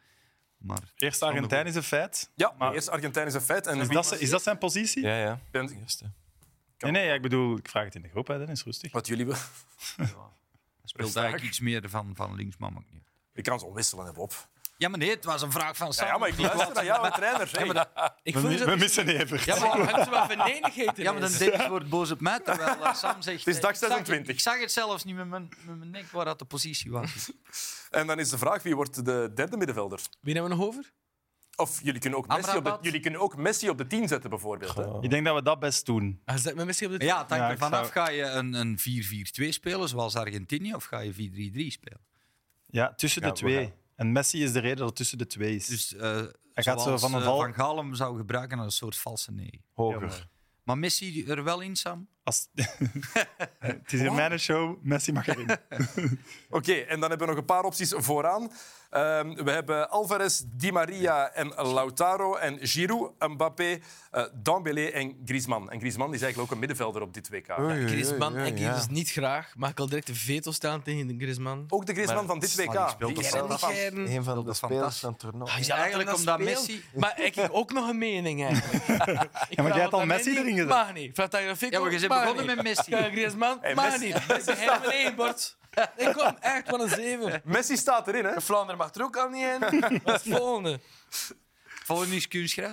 Speaker 2: Maar
Speaker 1: Eerst Argentijn is een feit.
Speaker 7: Ja,
Speaker 1: Maar-
Speaker 7: eerst Argentijn is een feit. En
Speaker 1: Is
Speaker 7: wie-
Speaker 1: dat, zijn- is dat zijn positie?
Speaker 4: Ja, ja.
Speaker 7: ben-
Speaker 4: Eerste.
Speaker 1: Nee, nee, ja, ik bedoel, ik vraag het in de groep, hè, dan is rustig.
Speaker 7: wat jullie willen.
Speaker 2: hij speelt eigenlijk iets meer van, van linksman ook niet.
Speaker 7: Ik kan ze omwisselen, hè, Bob.
Speaker 2: Ja, maar nee, het was een vraag van
Speaker 7: Ja,
Speaker 2: Sam.
Speaker 7: ja, maar ik luister naar jou, trainer. Hey.
Speaker 5: Ik
Speaker 1: We,
Speaker 5: voel
Speaker 1: mi-
Speaker 5: zo...
Speaker 1: we missen even.
Speaker 2: Ja, maar,
Speaker 5: Hij heeft wel venenigheid
Speaker 2: ja, maar dan Dennis wordt boos op mij, terwijl eh, Sam zegt...
Speaker 7: Het is
Speaker 2: eh,
Speaker 7: dag
Speaker 2: ik zag-
Speaker 7: 26.
Speaker 2: Ik zag het zelfs niet met mijn, met mijn nek waar dat de positie was.
Speaker 7: En dan is de vraag, wie wordt de derde middenvelder?
Speaker 5: Wie hebben we nog over?
Speaker 7: Of jullie kunnen ook Messi, op de,
Speaker 2: Amrabat?
Speaker 7: jullie kunnen ook Messi op de 10 zetten, bijvoorbeeld. Hè?
Speaker 1: Ik denk dat we dat best doen.
Speaker 5: Ah, Zet me misschien op de...
Speaker 2: Ja, het
Speaker 1: Ja,
Speaker 2: hangt
Speaker 1: ik
Speaker 2: ervan af.
Speaker 1: zou-
Speaker 2: Ga je een, een 4-4-2 spelen, zoals Argentinië, of ga je 4-3-3 spelen?
Speaker 1: Ja, tussen de
Speaker 4: Ja, we
Speaker 1: twee.
Speaker 4: gaan.
Speaker 1: En Messi is de reden dat het tussen de twee is.
Speaker 2: Dus eh
Speaker 1: Hij gaat zo
Speaker 2: zoals,
Speaker 1: van een
Speaker 2: eh,
Speaker 1: val-
Speaker 2: Van Gaal hem zou gebruiken als een soort valse nee.
Speaker 1: Ja,
Speaker 4: Hoger.
Speaker 1: maar-
Speaker 2: Maar Messi er wel in, Sam?
Speaker 1: Als... het is in mijn show, Messi mag erin.
Speaker 7: Oké, en dan hebben we nog een paar opties vooraan. Ehm, we hebben Alvarez, Di Maria en Lautaro en Giroud, Mbappé, eh Dembélé en Griezmann. En Griezmann is eigenlijk ook een middenvelder op dit WK.
Speaker 5: Griezmann, ik die dus niet graag. Mag ik al direct de veto staan tegen de Griezmann?
Speaker 7: Ook de Griezmann
Speaker 4: Maar-
Speaker 7: van dit WK.
Speaker 2: maar die speelt
Speaker 7: Die
Speaker 2: toch
Speaker 7: kennen
Speaker 2: wel
Speaker 7: we van.
Speaker 5: Gern.
Speaker 4: Een van
Speaker 2: Dat
Speaker 4: de
Speaker 2: is
Speaker 4: spelers
Speaker 2: fantastisch.
Speaker 4: van het toernooi.
Speaker 5: Ah,
Speaker 2: Ja, eigenlijk
Speaker 5: laat hem
Speaker 2: omdat
Speaker 5: dat spelen.
Speaker 2: Messi-
Speaker 5: Maar ik heb ook nog een mening eigenlijk. ja,
Speaker 1: jij hebt al Messi erin gezet.
Speaker 5: Mag niet. Vraag tegen Fico,
Speaker 2: Ja, maar je bent
Speaker 5: mag
Speaker 2: begonnen
Speaker 5: niet.
Speaker 2: met Messi.
Speaker 5: Ja, Griezmann,
Speaker 7: Hey,
Speaker 5: mag
Speaker 7: Messi-
Speaker 5: niet. Ik ben helemaal ingebord. Ik kom echt van een zeven.
Speaker 7: Messi staat erin, hè?
Speaker 5: Vlaanderen mag er ook al niet in. Wat is het volgende?
Speaker 2: Volgende is kunstgras.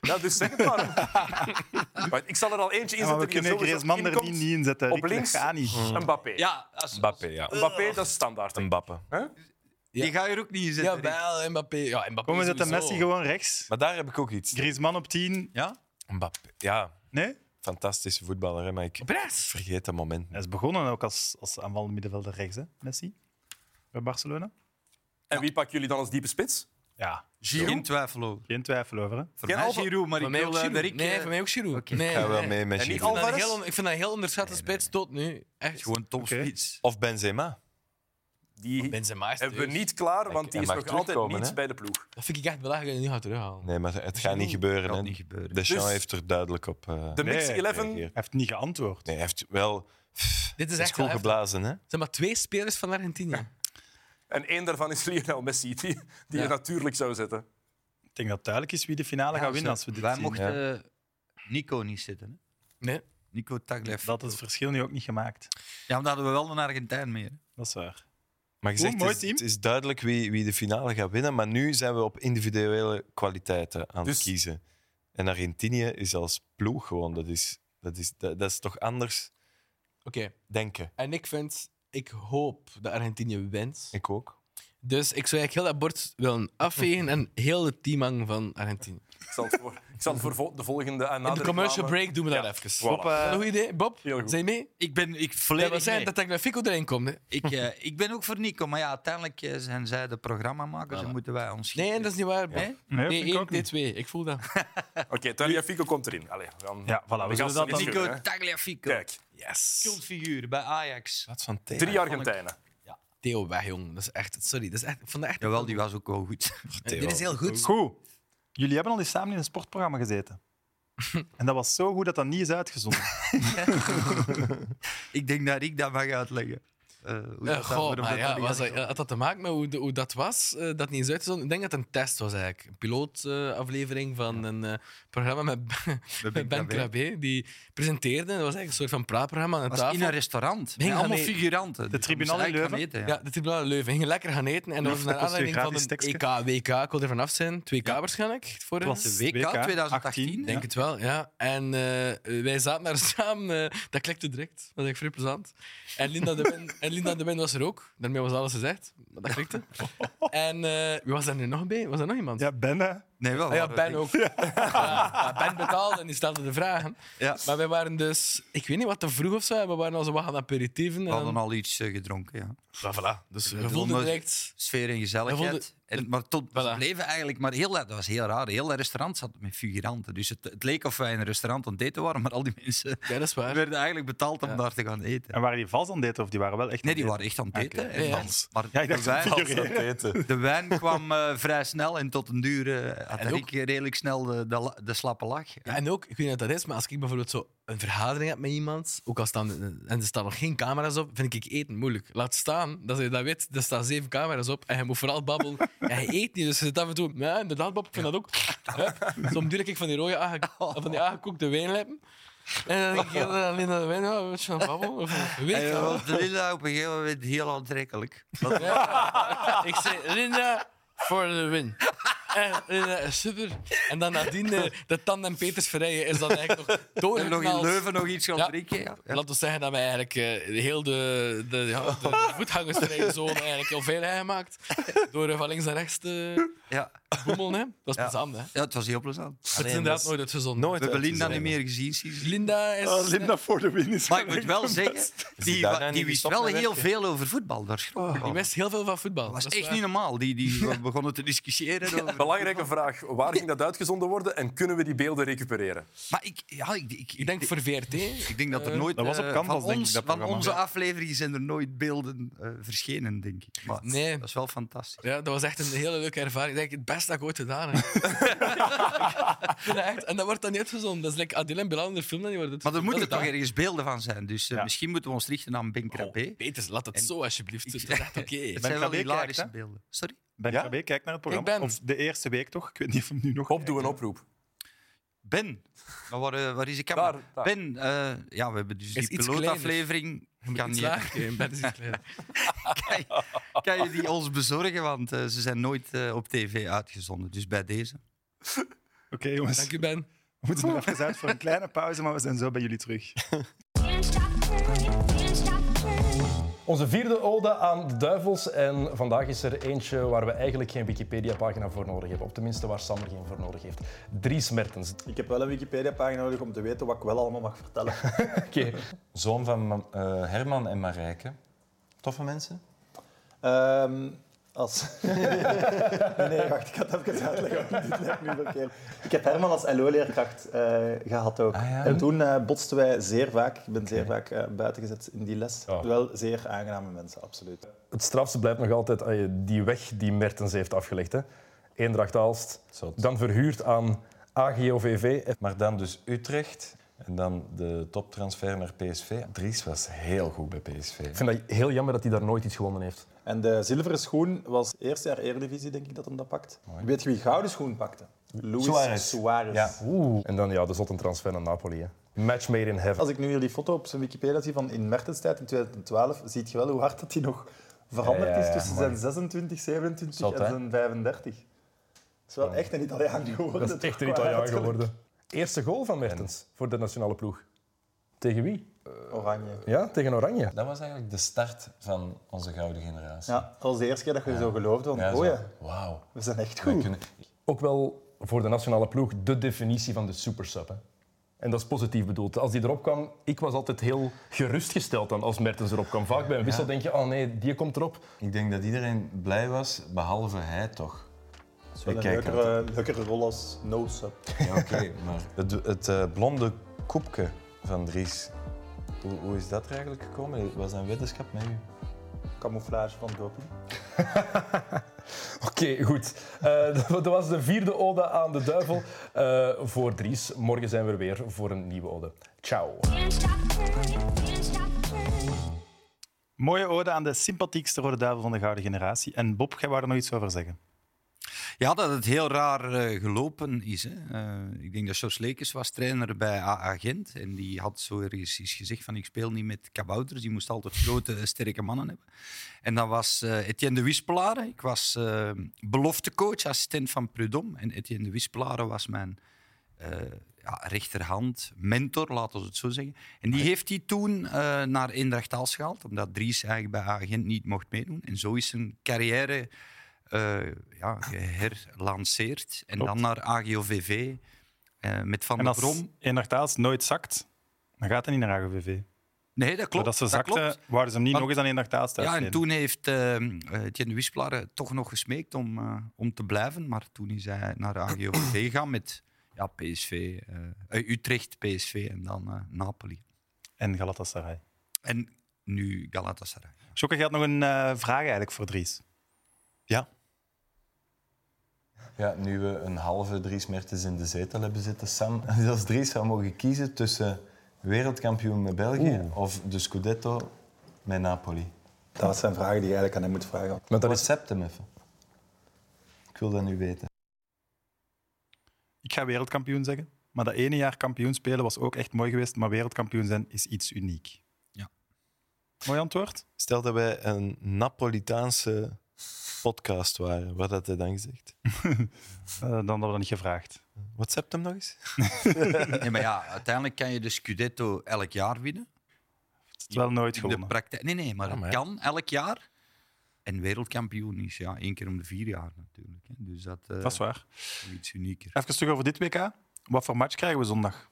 Speaker 7: Ja, dus zeg het maar. maar ik zal er al eentje
Speaker 1: maar
Speaker 7: inzetten
Speaker 1: we
Speaker 7: die er
Speaker 1: kunnen
Speaker 7: sowieso
Speaker 1: Griezmann er
Speaker 7: inkomt.
Speaker 1: niet in zetten.
Speaker 7: Op
Speaker 1: Rick, dat
Speaker 7: links.
Speaker 1: gaat niet.
Speaker 7: Mbappé.
Speaker 2: Ja, Hm. als,
Speaker 4: Mbappé, ja.
Speaker 7: Mbappé, dat is standaard. hè.
Speaker 4: Mbappé.
Speaker 2: die ga je er ook niet in zetten. Rick.
Speaker 5: Jawel, Mbappé. Ja, Mbappé
Speaker 1: Kom, we zetten
Speaker 5: sowieso.
Speaker 1: Messi gewoon rechts.
Speaker 4: Maar daar heb ik ook iets.
Speaker 1: Griezmann op 10.
Speaker 2: Ja?
Speaker 4: Mbappé. Ja,
Speaker 1: Nee?
Speaker 4: fantastische voetballer, hè, maar ik
Speaker 5: Pres.
Speaker 4: vergeet dat moment
Speaker 1: Hij
Speaker 4: niet.
Speaker 1: is begonnen ook als, als aanvallende middenvelder rechts, hè? Messi. Bij Barcelona.
Speaker 7: En wie pakken jullie dan als diepe spits?
Speaker 1: Ja,
Speaker 2: Geen twijfel over.
Speaker 1: geen twijfel over. Hè?
Speaker 2: Voor
Speaker 7: Ken
Speaker 2: mij
Speaker 7: Alva-
Speaker 2: Giroud, maar ik
Speaker 5: Voor mij
Speaker 2: wil
Speaker 5: ook
Speaker 2: eh, de
Speaker 5: Giroud.
Speaker 2: Rick...
Speaker 5: nee,
Speaker 2: eh,
Speaker 5: voor mij ook Giroud.
Speaker 2: oké.
Speaker 5: Nee,
Speaker 4: Ik ga wel
Speaker 5: nee.
Speaker 4: mee met
Speaker 7: En niet
Speaker 5: Ik
Speaker 4: Giroud.
Speaker 5: vind dat een
Speaker 7: Alvarez?
Speaker 5: heel- Ik vind dat een heel onderschatte spits tot nu. Echt.
Speaker 2: Gewoon topspits.
Speaker 4: Of Benzema.
Speaker 7: Die
Speaker 5: Benzema is
Speaker 7: hebben we
Speaker 5: terug.
Speaker 7: niet klaar, want
Speaker 4: hij
Speaker 7: die is
Speaker 4: mag
Speaker 7: nog altijd
Speaker 4: terugkomen,
Speaker 7: niet
Speaker 4: hè?
Speaker 7: bij de ploeg.
Speaker 5: Dat vind ik echt belachelijk dat je die nu gaat terughalen.
Speaker 4: Nee, maar het gaat niet gebeuren.
Speaker 2: Kan
Speaker 4: hè.
Speaker 2: niet gebeuren.
Speaker 4: Deschamps
Speaker 7: Dus-
Speaker 4: heeft er duidelijk op eh,
Speaker 7: De Mix
Speaker 1: Nee,
Speaker 7: 11
Speaker 4: gereageerd.
Speaker 1: Hij heeft niet geantwoord.
Speaker 4: Nee, hij heeft wel...
Speaker 5: Dit is
Speaker 4: Hij is
Speaker 5: echt
Speaker 4: goed
Speaker 5: wel heftig.
Speaker 4: geblazen, hè?
Speaker 5: Het zijn maar twee spelers van Argentinië.
Speaker 7: en één daarvan is Lionel Messi, die, die je
Speaker 5: Ja.
Speaker 7: natuurlijk zou zetten.
Speaker 1: Ik denk dat het duidelijk is wie de finale
Speaker 2: Ja, dus
Speaker 1: gaat winnen als we dit
Speaker 2: Wij
Speaker 1: zien.
Speaker 2: mochten eh, Nico niet zitten. Hè?
Speaker 5: Nee.
Speaker 2: Nico Taglev.
Speaker 1: Dat is het verschil nu ook niet gemaakt.
Speaker 2: Ja, maar dan hadden we wel een Argentijn meer.
Speaker 1: Dat is waar.
Speaker 4: Maar je
Speaker 1: Oeh,
Speaker 4: zegt,
Speaker 1: mooi
Speaker 4: het, is,
Speaker 1: team.
Speaker 4: het is duidelijk wie, wie de finale gaat winnen, maar nu zijn we op individuele kwaliteiten aan
Speaker 7: Dus-
Speaker 4: het kiezen. En Argentinië is als ploeg gewoon, dat is, dat is, dat, dat is toch anders
Speaker 5: Oké.
Speaker 4: denken.
Speaker 5: En ik vind... Ik hoop dat Argentinië wint.
Speaker 4: Ik ook.
Speaker 5: Dus ik zou eigenlijk heel dat bord willen afvegen en heel het team hangen van Argentinië.
Speaker 7: Ik zal het voor, ik zal het voor vol- de volgende en
Speaker 5: In de commercial break doen we dat
Speaker 7: Ja,
Speaker 5: even.
Speaker 7: voilà. Bob, eh,
Speaker 5: Is dat een goed idee. Bob,
Speaker 7: Heel goed.
Speaker 5: zijn je mee?
Speaker 2: Ik ben ik
Speaker 5: Dat
Speaker 2: volledig
Speaker 5: wil
Speaker 2: mee.
Speaker 5: zeggen dat ik naar Fico erin komt. Hè.
Speaker 2: Ik, eh, ik ben ook voor Nico, maar ja, uiteindelijk eh, zijn zij de programmamakers en moeten wij ons
Speaker 5: Nee, dat is niet waar.
Speaker 2: Nee?
Speaker 1: Nee, vind ik
Speaker 5: Nee,
Speaker 1: ook niet.
Speaker 5: 1, 2 Ik voel dat.
Speaker 7: Oké, Talia Fico komt erin. Allee, we gaan-
Speaker 1: Ja, voilà, we
Speaker 7: gaan
Speaker 1: zullen
Speaker 7: ze
Speaker 1: dat
Speaker 7: niet
Speaker 1: dan-
Speaker 7: schudden,
Speaker 2: Nico
Speaker 7: hè.
Speaker 2: Tagliafico.
Speaker 7: Kijk,
Speaker 2: Cultfiguur bij Ajax.
Speaker 4: Wat van tegen.
Speaker 7: drie Argentijnen.
Speaker 5: Theo weg, jong. Dat is echt... Sorry, dat is echt... Ik vond dat echt...
Speaker 2: Jawel, die was ook wel goed.
Speaker 5: Dit is heel goed.
Speaker 1: Goed. Jullie hebben al eens samen in een sportprogramma gezeten. En dat was zo goed dat dat niet is uitgezonden.
Speaker 2: ik denk dat ik dat mag uitleggen. Eh, hoe dat
Speaker 5: Eh,
Speaker 2: dan-
Speaker 5: goh,
Speaker 2: waarom
Speaker 5: maar
Speaker 2: dat
Speaker 5: ja,
Speaker 2: dan
Speaker 5: was
Speaker 2: niet
Speaker 5: dat, had dat te maken met hoe, de- hoe dat was? eh, dat niet eens uitgezonden? Ik denk dat het een test was eigenlijk. Een pilootaflevering van een eh, programma met
Speaker 2: uitgezonden?
Speaker 5: Ben, ben Krabbe. Die presenteerde. Dat was eigenlijk een soort van praatprogramma aan de
Speaker 2: was
Speaker 5: tafel.
Speaker 2: in een restaurant.
Speaker 5: Hing
Speaker 2: Met allemaal
Speaker 5: aan die-
Speaker 2: figuranten.
Speaker 1: De tribunaal in
Speaker 2: Moest eigenlijk
Speaker 1: Leuven?
Speaker 2: gaan
Speaker 5: Ja,
Speaker 2: eten,
Speaker 5: de Tribunale Leuven. Gingen lekker gaan eten. En dat was
Speaker 1: dat
Speaker 5: naar
Speaker 1: kost je
Speaker 5: aanleiding van
Speaker 1: gratis
Speaker 5: een E
Speaker 1: tekstje.
Speaker 5: EK, WK. Ik wil er vanaf zijn. 2K
Speaker 2: Ja.
Speaker 5: waarschijnlijk. Het vorige.
Speaker 1: Het was
Speaker 2: De WK 2018.
Speaker 5: Ik denk het wel, ja. En eh, wij zaten daar samen. eh, dat klikte direct. Dat was echt vrij plezant. En Linda de Win, en Linda de Win was er ook. Daarmee was alles gezegd. Maar dat klikte. En eh, wie was daar nu nog bij? Was er nog iemand?
Speaker 1: Ja, Ben, hè.
Speaker 2: Nee, wel.
Speaker 5: Ah ja,
Speaker 2: waar-
Speaker 5: Ben ook. Ja. Ja, ben betaalde en die stelde de vragen.
Speaker 2: Ja.
Speaker 5: Maar wij waren dus, ik weet niet wat te vroeg of zo, en we waren al zo wat aan aperitieven.
Speaker 2: We
Speaker 5: En
Speaker 2: hadden
Speaker 5: dan,
Speaker 2: al iets eh, gedronken, ja.
Speaker 5: voilà, dus we
Speaker 2: dat
Speaker 5: voelden
Speaker 2: was-
Speaker 5: direct...
Speaker 2: sfeer en
Speaker 5: Hij
Speaker 2: gezelligheid.
Speaker 5: voelde-
Speaker 2: en, maar tot
Speaker 5: Voilà.
Speaker 2: het bleven eigenlijk, maar heel, dat was heel raar. Heel dat restaurant zat met figuranten. Dus het, het leek of wij in een restaurant aan het eten waren, maar al die mensen
Speaker 5: Ja, dat is waar.
Speaker 2: werden eigenlijk betaald om
Speaker 5: Ja.
Speaker 2: daar te gaan eten.
Speaker 1: En waren die vals aan het eten of die waren wel echt
Speaker 2: Nee, die
Speaker 1: aan het
Speaker 2: waren echt aan het eten.
Speaker 1: Oké.
Speaker 2: En
Speaker 5: Ja, ja.
Speaker 2: dan- Maar
Speaker 1: Ja, ik
Speaker 2: de,
Speaker 1: dacht dat
Speaker 2: wijn,
Speaker 1: figuren-
Speaker 4: eten.
Speaker 2: de wijn kwam eh, vrij snel en tot een duur eh, had
Speaker 5: En ook-
Speaker 2: ik redelijk snel de, de, la- de slappe lach.
Speaker 5: Ja, en ook, ik weet niet wat dat is, maar als ik bijvoorbeeld zo een vergadering heb met iemand, ook al staan en er staan nog geen camera's op, vind ik eten moeilijk. Laat staan dat je dat weet, er staan zeven camera's op en je moet vooral babbelen. En je eet niet, dus je zit af en toe, ja, inderdaad, Bob, ik vind dat ook. Hup. Zo om duur heb ik van die rode aange-
Speaker 2: Oh.
Speaker 5: van die aangekookte wijnleppen. En dan denk ik heel alleen naar de wijn, ja, wat je aan het babbelen? Of, weet
Speaker 2: En
Speaker 5: je wel.
Speaker 2: dat Linda oh, op een gegeven moment heel aantrekkelijk.
Speaker 5: Ja. Ik zei, Linda, voor de win. En, Linda, is super. En dan nadien, eh, de tand en Peters verrijden is dan eigenlijk nog
Speaker 2: En nog in
Speaker 5: doorgeknald.
Speaker 2: Leuven nog iets gaan
Speaker 5: Ja.
Speaker 2: drinken. Ja. Ja.
Speaker 5: Laten we zeggen dat wij eigenlijk eh, heel de, de, ja, de, de voetgangersvrije zone eigenlijk heel veilig hebben gemaakt. Door eh, van links naar rechts te...
Speaker 2: Ja.
Speaker 5: boemel, hè? Dat is
Speaker 2: Ja.
Speaker 5: plezant, hè?
Speaker 2: Ja, het was heel plezant.
Speaker 5: Dat is
Speaker 4: dat
Speaker 5: inderdaad
Speaker 4: is
Speaker 5: nooit uitgezonden.
Speaker 2: We
Speaker 4: Nooit
Speaker 2: hebben Linda niet
Speaker 4: uitgezien.
Speaker 2: meer gezien sinds.
Speaker 5: Linda is...
Speaker 1: Oh, Linda voor de win is
Speaker 2: Maar ik moet
Speaker 1: gelijk
Speaker 2: wel
Speaker 1: de
Speaker 2: zeggen,
Speaker 1: beste.
Speaker 2: die,
Speaker 4: daarna
Speaker 2: wa-
Speaker 4: niet
Speaker 2: die wist
Speaker 4: gestopt
Speaker 2: wel
Speaker 4: met
Speaker 2: heel
Speaker 4: werken?
Speaker 2: veel over voetbal. Daar schrok ik
Speaker 5: Oh, Die
Speaker 2: van.
Speaker 5: wist heel veel van voetbal.
Speaker 2: Dat was
Speaker 5: is
Speaker 2: echt
Speaker 5: waar.
Speaker 2: niet normaal. Die, die begonnen te discussiëren. over-
Speaker 7: Belangrijke vraag. Waar ging dat uitgezonden worden en kunnen we die beelden recupereren?
Speaker 2: Maar ik, ja, ik, ik,
Speaker 5: Ik denk voor VRT.
Speaker 2: ik denk dat er
Speaker 5: eh,
Speaker 2: nooit...
Speaker 1: dat was op
Speaker 2: eh,
Speaker 1: Canvas,
Speaker 2: van
Speaker 1: denk ik,
Speaker 2: ons-
Speaker 1: dat
Speaker 2: Van
Speaker 1: programma.
Speaker 2: onze
Speaker 1: Ja.
Speaker 2: afleveringen zijn er nooit beelden eh, verschenen, denk ik. Maar
Speaker 5: Nee.
Speaker 2: Dat is wel fantastisch.
Speaker 5: Ja, dat was echt een hele leuke ervaring. Ik denk, het beste dat ik ooit gedaan heb. Ik vind dat echt- en dat wordt dan niet uitgezonden. Dat is like Adil en Bilal in de film. Dan die worden
Speaker 2: Maar er
Speaker 5: uitgezonden.
Speaker 2: moeten
Speaker 5: Dat
Speaker 2: toch
Speaker 5: is
Speaker 2: ergens beelden van zijn. Dus eh,
Speaker 1: Ja.
Speaker 2: misschien moeten we ons richten aan Ben
Speaker 5: dat.
Speaker 2: Krabbe.
Speaker 5: Oh, Peters, laat het
Speaker 2: En-
Speaker 5: zo alsjeblieft. Het is echt oké.
Speaker 2: Het
Speaker 1: Ben
Speaker 2: zijn wel
Speaker 1: Krabbe kijkt,
Speaker 2: hilarische
Speaker 1: hè?
Speaker 2: beelden. Sorry?
Speaker 1: Ben
Speaker 4: Ja?
Speaker 1: Krabbe, kijk naar het programma.
Speaker 5: Ik ben-
Speaker 1: Of de eerste week toch? Ik weet niet of hem nu nog...
Speaker 7: Bob, doe een oproep.
Speaker 2: Ben, maar waar, eh, waar is de camera?
Speaker 7: Daar, daar.
Speaker 2: Ben, eh, ja, we hebben dus
Speaker 5: Is
Speaker 2: die
Speaker 5: iets kleiner.
Speaker 2: pilootaflevering. Kan,
Speaker 5: Iets
Speaker 2: niet-
Speaker 5: lager. Oké, Ben is iets kleiner.
Speaker 2: kan, je, kan je die ons bezorgen? Want eh, ze zijn nooit eh, op tv uitgezonden. Dus bij deze.
Speaker 1: Oké, jongens.
Speaker 5: Dank u, Ben.
Speaker 1: We moeten er even uit voor een kleine pauze, maar we zijn zo bij jullie terug.
Speaker 7: Onze vierde ode aan de duivels. En vandaag is er eentje waar we eigenlijk geen Wikipedia-pagina voor nodig hebben. Of tenminste waar Sam er geen voor nodig heeft. Dries Mertens.
Speaker 9: Ik heb wel een Wikipedia-pagina nodig om te weten wat ik wel allemaal mag vertellen.
Speaker 7: Oké.
Speaker 4: Zoon van Ma- eh, Herman en Marijke. Toffe mensen.
Speaker 9: Ehm, als... nee, wacht, ik ga het even uitleggen, want dit lijkt me verkeerd. Ik heb Herman als LO-leerkracht eh, gehad ook.
Speaker 4: Ah, ja.
Speaker 9: En toen eh, botsten wij zeer vaak, ik ben zeer vaak eh, buiten gezet in die les.
Speaker 4: Oh.
Speaker 7: Ja.
Speaker 9: Wel zeer aangename mensen, absoluut.
Speaker 7: Het strafste blijft nog altijd eh, die weg die Mertens heeft afgelegd. Hè. Eendracht Aalst,
Speaker 4: Zot.
Speaker 7: dan verhuurd aan AGOVV.
Speaker 4: Maar dan dus Utrecht. En dan de toptransfer naar PSV. Dries was heel goed bij PSV.
Speaker 7: Ik vind dat heel jammer dat hij daar nooit iets gewonnen heeft.
Speaker 9: En de zilveren schoen was eerste jaar Eredivisie, denk ik, dat hem dat pakt. Weet je wie gouden schoen pakte? Luis
Speaker 4: Suarez.
Speaker 9: Suarez.
Speaker 4: Ja.
Speaker 7: Oeh. En dan ja, de zotte transfer naar Napoli. Hè. Match made in heaven.
Speaker 9: Als ik nu hier die foto op zijn Wikipedia zie van in Mertens tijd in 2012, ziet je wel hoe hard dat hij nog veranderd
Speaker 4: Ja, ja, ja,
Speaker 9: is tussen
Speaker 4: mooi.
Speaker 9: zijn 26, 27
Speaker 4: Zot,
Speaker 9: en
Speaker 4: hè?
Speaker 9: zijn 35. Het is wel echt een Italiaan geworden.
Speaker 7: Dat is echt een
Speaker 9: toch, qua
Speaker 7: Italiaan
Speaker 9: uiterlijk.
Speaker 7: geworden. Eerste goal van Mertens voor de nationale ploeg. Tegen wie?
Speaker 9: Oranje.
Speaker 7: Ja, tegen Oranje.
Speaker 4: Dat was eigenlijk de start van onze gouden generatie.
Speaker 9: Ja, dat was de eerste keer dat je zo geloofde. Want,
Speaker 4: Ja, zo.
Speaker 9: oh ja,
Speaker 4: Wauw.
Speaker 9: we zijn echt
Speaker 4: Wij
Speaker 9: goed.
Speaker 4: kunnen-
Speaker 7: Ook wel voor de nationale ploeg de definitie van de supersub. Hè. En dat is positief bedoeld. Als die erop kwam, ik was altijd heel gerustgesteld dan als Mertens erop kwam. Vaak bij een wissel denk je, oh nee, die komt erop.
Speaker 4: Ik denk dat iedereen blij was, behalve hij toch.
Speaker 9: Dat is wel
Speaker 4: Ik
Speaker 9: een
Speaker 4: kijk
Speaker 9: leukere, leukere rol als no-sub.
Speaker 4: Ja, oké, maar het, het eh, blonde koepje van Dries, hoe, hoe is dat er eigenlijk gekomen? Was dat een wetenschap met u?
Speaker 9: Camouflage van doping.
Speaker 7: Oké, goed. Eh, dat dat was de vierde ode aan de duivel eh, voor Dries. Morgen zijn we er weer voor een nieuwe ode. Ciao.
Speaker 1: Mooie ode aan de sympathiekste rode duivel van de gouden generatie. En Bob, jij wou er nog iets over zeggen.
Speaker 2: Ja, dat het heel raar eh, gelopen is. Hè. Eh, ik denk dat Jos Lekes was trainer bij AA Gent. En die had zo ergens iets gezegd van ik speel niet met kabouters. Die moest altijd grote, eh, sterke mannen hebben. En dat was eh, Etienne de Wispelare. Ik was eh, beloftecoach, assistent van Prudhomme. En Etienne de Wispelare was mijn eh, ja, rechterhand, mentor, laten we het zo zeggen. En
Speaker 1: Ah,
Speaker 2: die heeft hij toen eh, naar Eendracht Aalst gehaald. Omdat Dries eigenlijk bij AA Gent niet mocht meedoen. En zo is zijn carrière eh ja, geherlanceerd. En
Speaker 1: Ah. Klopt.
Speaker 2: dan naar AGOVV eh, met Van
Speaker 1: En
Speaker 2: der
Speaker 1: als
Speaker 2: Brom.
Speaker 1: Eendertaals nooit zakt, dan gaat hij niet naar AGVV.
Speaker 2: Nee, dat klopt.
Speaker 1: Doordat ze zakte,
Speaker 2: klopt.
Speaker 1: wouden ze hem niet
Speaker 2: Maar-
Speaker 1: nog eens aan Eendertaals thuis
Speaker 2: Ja, en toen heeft eh eh, Etienne Wisplare toch nog gesmeekt om, eh, om te blijven. Maar toen is hij naar AGOVV gegaan met ja, PSV, eh, eh, Utrecht, PSV en dan eh, Napoli.
Speaker 1: En Galatasaray.
Speaker 2: En nu Galatasaray.
Speaker 1: Sjokke, jij had nog een eh, vraag eigenlijk voor Dries.
Speaker 4: Ja, nu we een halve Dries Mertens in de zetel hebben zitten, Sam. Als Dries zou mogen kiezen tussen wereldkampioen met België of de Scudetto met Napoli.
Speaker 9: Dat zijn vragen die je eigenlijk aan hem moet vragen.
Speaker 4: Maar dat Recept hem even. Ik wil dat nu weten.
Speaker 1: Ik ga wereldkampioen zeggen. Maar dat ene jaar kampioen spelen was ook echt mooi geweest. Maar wereldkampioen zijn is iets uniek.
Speaker 2: Ja.
Speaker 1: Mooi antwoord.
Speaker 4: Stel dat wij een Napolitaanse podcast waren, wat had hij dan gezegd?
Speaker 1: Eh, dan hadden we dat niet gevraagd.
Speaker 4: WhatsApp hem nog eens?
Speaker 2: Nee, maar ja, uiteindelijk kan je de Scudetto elk jaar winnen.
Speaker 1: Het is wel nooit
Speaker 2: In de
Speaker 1: gewonnen.
Speaker 2: praktijk. Nee, nee, maar
Speaker 4: Ja, maar
Speaker 2: het kan elk jaar. En wereldkampioen is, ja, één keer om de vier jaar natuurlijk. Hè. Dus dat, eh,
Speaker 1: Dat is waar.
Speaker 2: iets unieker.
Speaker 1: Even terug over dit WK. Wat voor match krijgen we zondag?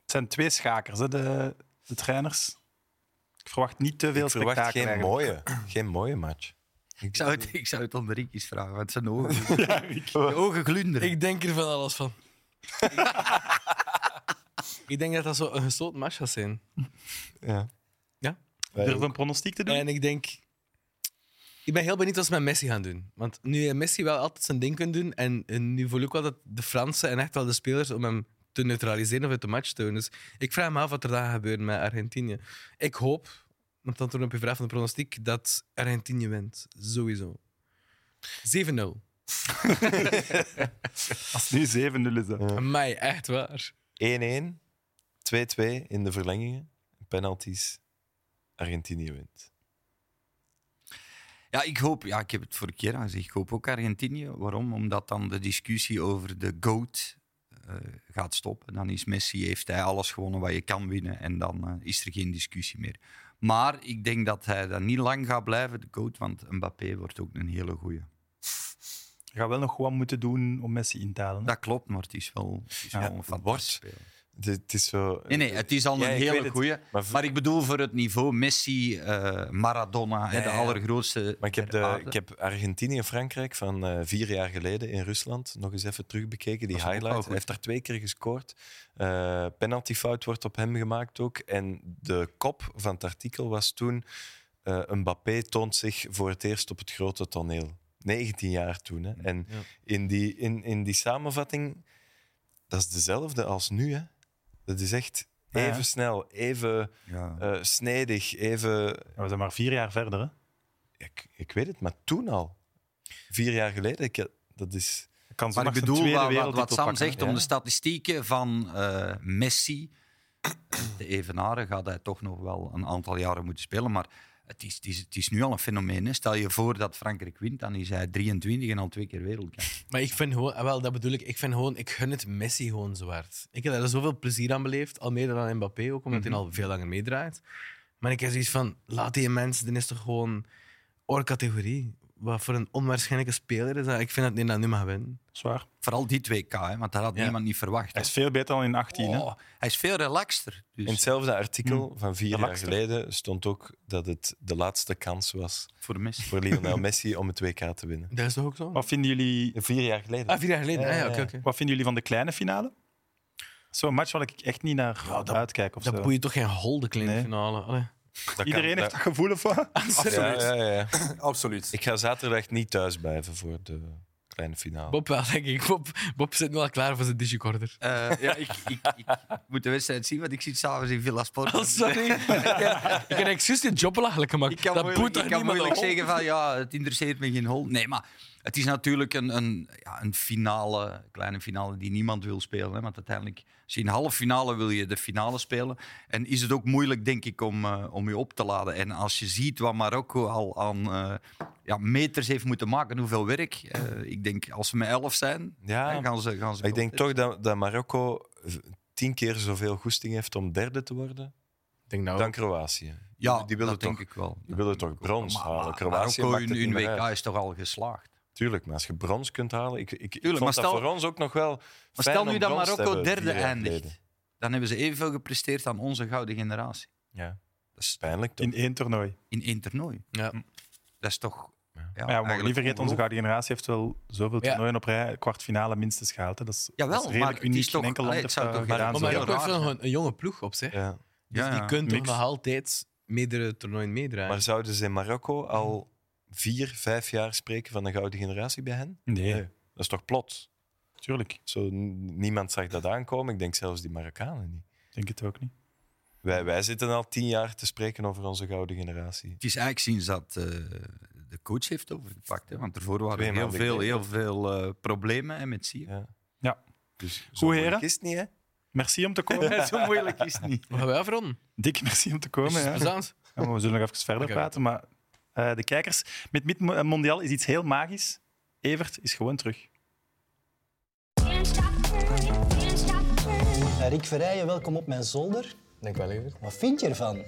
Speaker 1: Het zijn twee schakers, hè, de, de trainers. Ik verwacht niet te veel
Speaker 4: Ik verwacht
Speaker 1: spektakel.
Speaker 4: geen
Speaker 1: eigenlijk.
Speaker 4: mooie, geen mooie match.
Speaker 2: Ik zou, het, ik zou het om de Rick eens vragen, want zijn ogen, zijn ogen glunderen.
Speaker 5: Ik denk er van alles van. ik denk dat dat zo een gestoten match gaat zijn.
Speaker 4: Ja.
Speaker 5: Ja?
Speaker 4: Wij
Speaker 1: Durf
Speaker 4: ook.
Speaker 1: een pronostiek te doen?
Speaker 5: En ik denk... Ik ben heel benieuwd wat ze met Messi gaan doen. Want nu heeft Messi wel altijd zijn ding kunnen doen. En, en nu voel ik wel dat de Fransen en echt wel de spelers om hem te neutraliseren of uit de match te doen. Dus ik vraag me af wat er daar gaat gebeuren met Argentinië. Ik hoop, want dan toen op je vraag van de pronostiek, dat Argentinië wint. Sowieso. 7-0.
Speaker 1: Als het nu 7-0 is. hè.
Speaker 5: Mij, echt waar.
Speaker 4: 1-1, 2-2 in de verlengingen, penalties. Argentinië wint.
Speaker 2: Ja, ik hoop, ja, ik heb het vorige keer al gezegd, ik hoop ook Argentinië. Waarom? Omdat dan de discussie over de GOAT eh, gaat stoppen. Dan is Messi, heeft hij alles gewonnen wat je kan winnen en dan eh, is er geen discussie meer. Maar ik denk dat hij dan niet lang gaat blijven, de GOAT, want Mbappé wordt ook een hele goeie.
Speaker 1: Je gaat wel nog wat moeten doen om Messi in te halen. hè.
Speaker 2: Dat klopt, maar het is wel, het is wel een fantastisch speler.
Speaker 4: Dit het is zo...
Speaker 2: Nee, nee, het is al een
Speaker 4: Ja, ik weet
Speaker 2: hele
Speaker 4: het.
Speaker 2: goeie.
Speaker 4: Maar
Speaker 2: Maar,
Speaker 4: v-
Speaker 2: ik bedoel voor het niveau Messi, eh, Maradona, hè, de
Speaker 4: ja.
Speaker 2: allergrootste
Speaker 4: Maar ik heb,
Speaker 2: ter
Speaker 4: de,
Speaker 2: aarde.
Speaker 4: ik heb Argentinië-Frankrijk van eh, vier jaar geleden in Rusland nog eens even terugbekeken, die
Speaker 2: Dat is ook wel
Speaker 4: highlight.
Speaker 2: goed.
Speaker 4: Hij heeft daar twee keer gescoord. Eh penaltyfout wordt op hem gemaakt ook. En de kop van het artikel was toen... eh Mbappé toont zich voor het eerst op het grote toneel. 19 jaar toen.
Speaker 1: Mm,
Speaker 4: Hè. En in, die, in, in die samenvatting, dat is dezelfde als nu. Hè. Dat is echt
Speaker 1: Ja, ja.
Speaker 4: even snel, even
Speaker 2: Ja.
Speaker 4: eh, snedig, even
Speaker 1: Ja, We zijn maar vier jaar verder. Hè?
Speaker 4: ik, ik weet het, maar toen al. Vier jaar geleden, ik, dat is...
Speaker 1: Kan
Speaker 2: Maar
Speaker 1: zondag zijn
Speaker 2: ik bedoel
Speaker 1: tweede
Speaker 2: wat, wat,
Speaker 1: wereldtitel
Speaker 2: wat Sam
Speaker 1: pakken, hè.
Speaker 2: zegt om
Speaker 4: Ja.
Speaker 2: de statistieken van eh, Messi. eh, De evenaren gaat hij toch nog wel een aantal jaren moeten spelen. Maar het is, het is, het is nu al een fenomeen. hè. Stel je voor dat Frankrijk wint, dan is hij 23 en al twee keer wereldkampioen.
Speaker 5: Maar ik vind gewoon, ah, wel, dat bedoel ik, ik vind gewoon, ik gun het Messi gewoon zwaard. Ik heb daar dus zoveel plezier aan beleefd, al meer dan aan Mbappé ook, omdat hij al veel langer meedraait. Maar ik heb zoiets van, laat die mensen, dan is toch gewoon oor categorie. Wat voor een onwaarschijnlijke speler is dat? Ik vind dat hij dat nu mag winnen.
Speaker 1: Zwaar.
Speaker 2: Vooral die 2K, hè, want daar had
Speaker 5: Ja.
Speaker 2: niemand niet verwacht.
Speaker 1: Hij
Speaker 2: hè.
Speaker 1: is veel beter dan in 18. hè.
Speaker 2: Oh, hij is veel relaxter. Dus
Speaker 4: In hetzelfde artikel van vier jaar
Speaker 1: lakster.
Speaker 4: geleden stond ook dat het de laatste kans was
Speaker 2: voor Messi.
Speaker 4: voor Lionel Messi om het WK te winnen.
Speaker 5: Dat is toch ook zo?
Speaker 1: Wat, vinden jullie,
Speaker 4: Vier jaar geleden.
Speaker 5: Ah, vier jaar geleden. Ah, ja, oké, oké.
Speaker 1: wat vinden jullie van de kleine finale? Zo'n match waar ik echt niet naar uitkijk. Of
Speaker 5: Dat
Speaker 1: zo.
Speaker 5: boeit toch geen holde kleine
Speaker 1: Nee.
Speaker 5: finale. Allee.
Speaker 4: Dat
Speaker 1: Iedereen
Speaker 4: kan-
Speaker 1: heeft dat gevoel van.
Speaker 4: dat- ja, ja, ja, ja.
Speaker 7: Absoluut.
Speaker 4: Ik ga zaterdag niet thuis blijven voor de kleine finale.
Speaker 5: Bob wel, denk ik. Bob, Bob zit nu al klaar voor zijn digicorder.
Speaker 2: Eh, ja, ik, ik, ik moet de wedstrijd zien, want ik zit s'avonds in Villa Sport.
Speaker 5: Oh, sorry. ik heb excuus die job belachelijk gemaakt.
Speaker 2: Ik kan
Speaker 5: dat
Speaker 2: moeilijk,
Speaker 5: boeit
Speaker 2: ik
Speaker 5: toch
Speaker 2: kan
Speaker 5: niemand
Speaker 2: moeilijk
Speaker 5: een hol?
Speaker 2: zeggen van ja, het interesseert me geen hol. Nee, maar het is natuurlijk een, een, ja, een finale, kleine finale die niemand wil spelen. Hè, want uiteindelijk, als je in halve finale wil je de finale spelen. En is het ook moeilijk, denk ik, om, eh, om je op te laden. En als je ziet wat Marokko al aan eh, ja, meters heeft moeten maken, hoeveel werk. eh, ik denk als ze met elf zijn,
Speaker 4: Ja,
Speaker 2: dan gaan ze. Gaan ze
Speaker 4: Maar ik denk
Speaker 2: wel-
Speaker 4: toch dat, dat Marokko v- tien keer zoveel goesting heeft om derde te worden
Speaker 5: Ik denk nou- dat ook.
Speaker 4: dan Kroatië.
Speaker 2: Ja,
Speaker 4: die willen
Speaker 2: dat denk
Speaker 4: toch-
Speaker 2: ik wel.
Speaker 4: Die willen toch brons
Speaker 2: Maar-
Speaker 4: halen.
Speaker 2: maar
Speaker 4: Kroatië
Speaker 2: Marokko
Speaker 4: maakt het
Speaker 2: in, in
Speaker 4: niet meer
Speaker 2: WK
Speaker 4: uit.
Speaker 2: is toch al geslaagd.
Speaker 4: Tuurlijk, maar als je brons kunt halen... Ik, ik, ik
Speaker 2: Tuurlijk,
Speaker 4: vond
Speaker 2: maar
Speaker 4: dat
Speaker 2: stel-
Speaker 4: voor ons ook nog wel
Speaker 2: Maar
Speaker 4: fijn
Speaker 2: stel
Speaker 4: om
Speaker 2: nu dat
Speaker 4: brons te
Speaker 2: Marokko
Speaker 4: hebben,
Speaker 2: derde
Speaker 4: vier jaar
Speaker 2: eindigt.
Speaker 4: geleden.
Speaker 2: Dan hebben ze evenveel gepresteerd aan onze gouden generatie.
Speaker 4: Ja.
Speaker 2: Dat is
Speaker 4: Pijnlijk toch?
Speaker 1: In één toernooi.
Speaker 2: in één toernooi. Hm.
Speaker 5: Ja.
Speaker 2: Dat is toch... Ja,
Speaker 1: Maar ja, we mogen
Speaker 2: eigenlijk
Speaker 1: niet vergeten, onze
Speaker 2: ongelooflijk.
Speaker 1: gouden generatie heeft wel zoveel
Speaker 5: Ja.
Speaker 1: toernooien op rij, kwartfinale minstens gehaald. hè. Dat is, dat
Speaker 2: Jawel,
Speaker 1: is
Speaker 2: maar
Speaker 1: redelijk
Speaker 2: het
Speaker 1: uniek.
Speaker 2: is toch-
Speaker 1: Geen enkel land
Speaker 2: allee, het
Speaker 1: heeft
Speaker 2: zou
Speaker 1: eh,
Speaker 2: toch
Speaker 1: gedaan
Speaker 2: heel
Speaker 1: zo.
Speaker 5: Oh, Maar
Speaker 2: raar
Speaker 5: Marokko heeft wel
Speaker 2: zijn.
Speaker 5: gewoon een jonge ploeg op zich.
Speaker 4: Ja.
Speaker 5: Dus
Speaker 2: Ja,
Speaker 5: die
Speaker 2: ja.
Speaker 5: kunt toch
Speaker 1: Mix.
Speaker 5: nog altijd meerdere toernooien meedraaien.
Speaker 4: Maar zouden ze in Marokko al vier, vijf jaar spreken van een gouden generatie bij hen?
Speaker 1: Nee,
Speaker 4: Dat is toch plots?
Speaker 1: tuurlijk. Ik
Speaker 4: Zo, n- niemand zag dat aankomen. Ik denk zelfs die Marokkanen niet.
Speaker 1: denk het ook niet.
Speaker 4: Wij, wij zitten al tien jaar te spreken over onze gouden generatie.
Speaker 2: Het is eigenlijk sinds dat eh, de coach heeft overgepakt. Hè? Want ervoor waren
Speaker 4: Twee
Speaker 2: er heel
Speaker 4: maanden
Speaker 2: veel,
Speaker 4: geleden.
Speaker 2: heel veel eh, problemen hè, met Sia.
Speaker 4: Ja.
Speaker 1: Ja.
Speaker 4: Dus zo
Speaker 1: Goed, heren.
Speaker 4: moeilijk is het niet, hè?
Speaker 1: Merci om te komen.
Speaker 2: Zo moeilijk is het niet.
Speaker 5: We gaan wij afronden.
Speaker 1: Dik merci om te komen.
Speaker 5: Is
Speaker 1: Ja.
Speaker 5: het plezant?
Speaker 1: Ja, maar we zullen nog even verder
Speaker 5: Oké.
Speaker 1: praten. Maar eh, de kijkers, met Mid eh, Mondial is iets heel magisch. Evert is gewoon terug.
Speaker 3: Can't stop her, can't stop her.
Speaker 6: Eh, Rick Verrijen, welkom op mijn zolder.
Speaker 9: Denk wel even.
Speaker 6: Wat vind je ervan?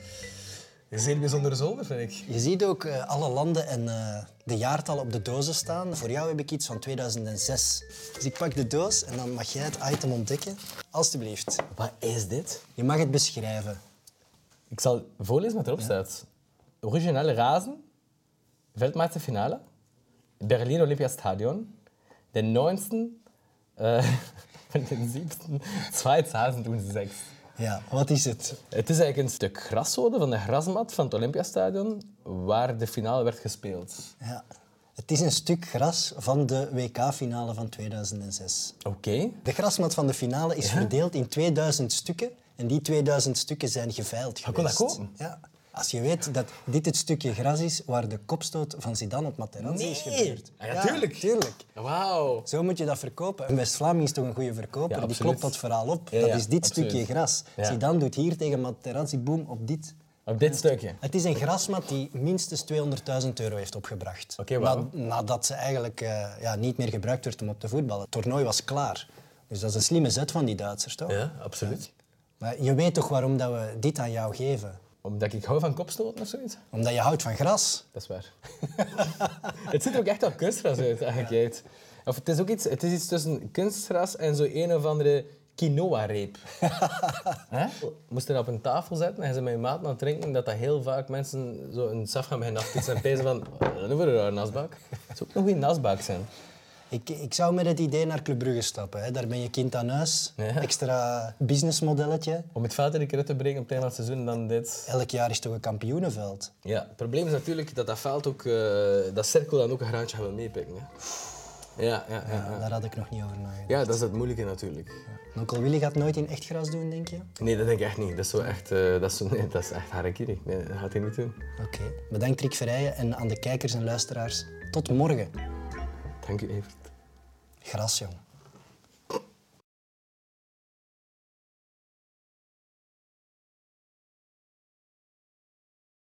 Speaker 5: Zeer bijzonder zolder, vind ik.
Speaker 6: Je ziet ook eh, alle landen en eh, de jaartallen op de dozen staan. Voor jou heb ik iets van 2006. Dus ik pak de doos en dan mag jij het item ontdekken. Alsjeblieft.
Speaker 10: Wat is dit?
Speaker 6: Je mag het beschrijven.
Speaker 10: Ik zal voorlezen wat erop staat. Originale razen, Weltmeisterfinale, Berlin Olympiastadion, der 9. Äh, van den 7. 2006.
Speaker 6: Ja, wat is het?
Speaker 10: Het is eigenlijk een stuk graszode van de grasmat van het Olympiastadion waar de finale werd gespeeld.
Speaker 6: Ja. Het is een stuk gras van de WK-finale van 2006.
Speaker 10: Oké.
Speaker 6: De grasmat van de finale is verdeeld in 2000 stukken. En die 2000 stukken zijn geveild geweest.
Speaker 10: kon dat kopen?
Speaker 6: Ja. Als je weet dat dit het stukje gras is waar de kopstoot van Zidane op Materazzi is
Speaker 10: Nee.
Speaker 6: gebeurd.
Speaker 10: Ah, ja, tuurlijk.
Speaker 6: tuurlijk.
Speaker 10: Wauw.
Speaker 6: Zo moet je dat verkopen. Een West-Vlaming is toch een goede verkoper?
Speaker 10: Ja,
Speaker 6: die
Speaker 10: absoluut.
Speaker 6: klopt dat verhaal op.
Speaker 10: Ja,
Speaker 6: dat
Speaker 10: ja,
Speaker 6: is dit
Speaker 10: absoluut.
Speaker 6: stukje gras.
Speaker 10: Ja.
Speaker 6: Zidane doet hier tegen Materazzi boom op dit.
Speaker 10: Op dit stukje.
Speaker 6: Het is een grasmat die minstens 200.000 euro heeft opgebracht.
Speaker 10: Oké, wauw.
Speaker 6: Na- nadat ze eigenlijk eh, ja, niet meer gebruikt werd om op te voetballen. Het toernooi was klaar. Dus dat is een slimme zet van die Duitsers, toch?
Speaker 10: Ja, absoluut.
Speaker 6: Maar je weet toch waarom dat we dit aan jou geven?
Speaker 10: Omdat ik hou van kopstoten of zoiets?
Speaker 6: Omdat je houdt van gras.
Speaker 10: Dat is waar. het ziet er ook echt wel kunstgras uit, eigenlijk. uit. Of het is ook iets, het is iets tussen kunstgras en zo een of andere quinoa-reep. Hè? We moesten dat op een tafel zetten en ze met je maat aan het drinken dat dat heel vaak mensen zo een saf gaan beginnen af te zijn en pezen van "Oh, dat is voor een raar nasbak. Het zou ook nog een nasbak zijn.
Speaker 6: Ik, ik zou met het idee naar Club Brugge stappen. Hè. Daar ben je kind aan huis.
Speaker 10: Ja.
Speaker 6: Extra businessmodelletje.
Speaker 10: Om het veld in de keer te brengen op het einde van het seizoen dan dit.
Speaker 6: Elk jaar is toch een kampioenenveld.
Speaker 10: Ja, het probleem is natuurlijk dat dat veld ook, eh, dat cirkel dan ook een graantje gaat meepikken. Hè. Ja, ja, ja, ja.
Speaker 6: Daar had ik nog niet over nagedacht.
Speaker 10: ja, dat is het moeilijke natuurlijk.
Speaker 6: Onkel Willy gaat nooit in echt gras doen, denk je?
Speaker 10: Nee, dat denk ik echt niet. Dat is, zo echt, eh, dat is, zo- nee, dat is echt harakiri. Nee, dat gaat hij niet doen.
Speaker 6: Oké. Bedankt Rick Verrijen en aan de kijkers en luisteraars. Tot morgen.
Speaker 10: Dank u, Evert.
Speaker 6: Gras, jong.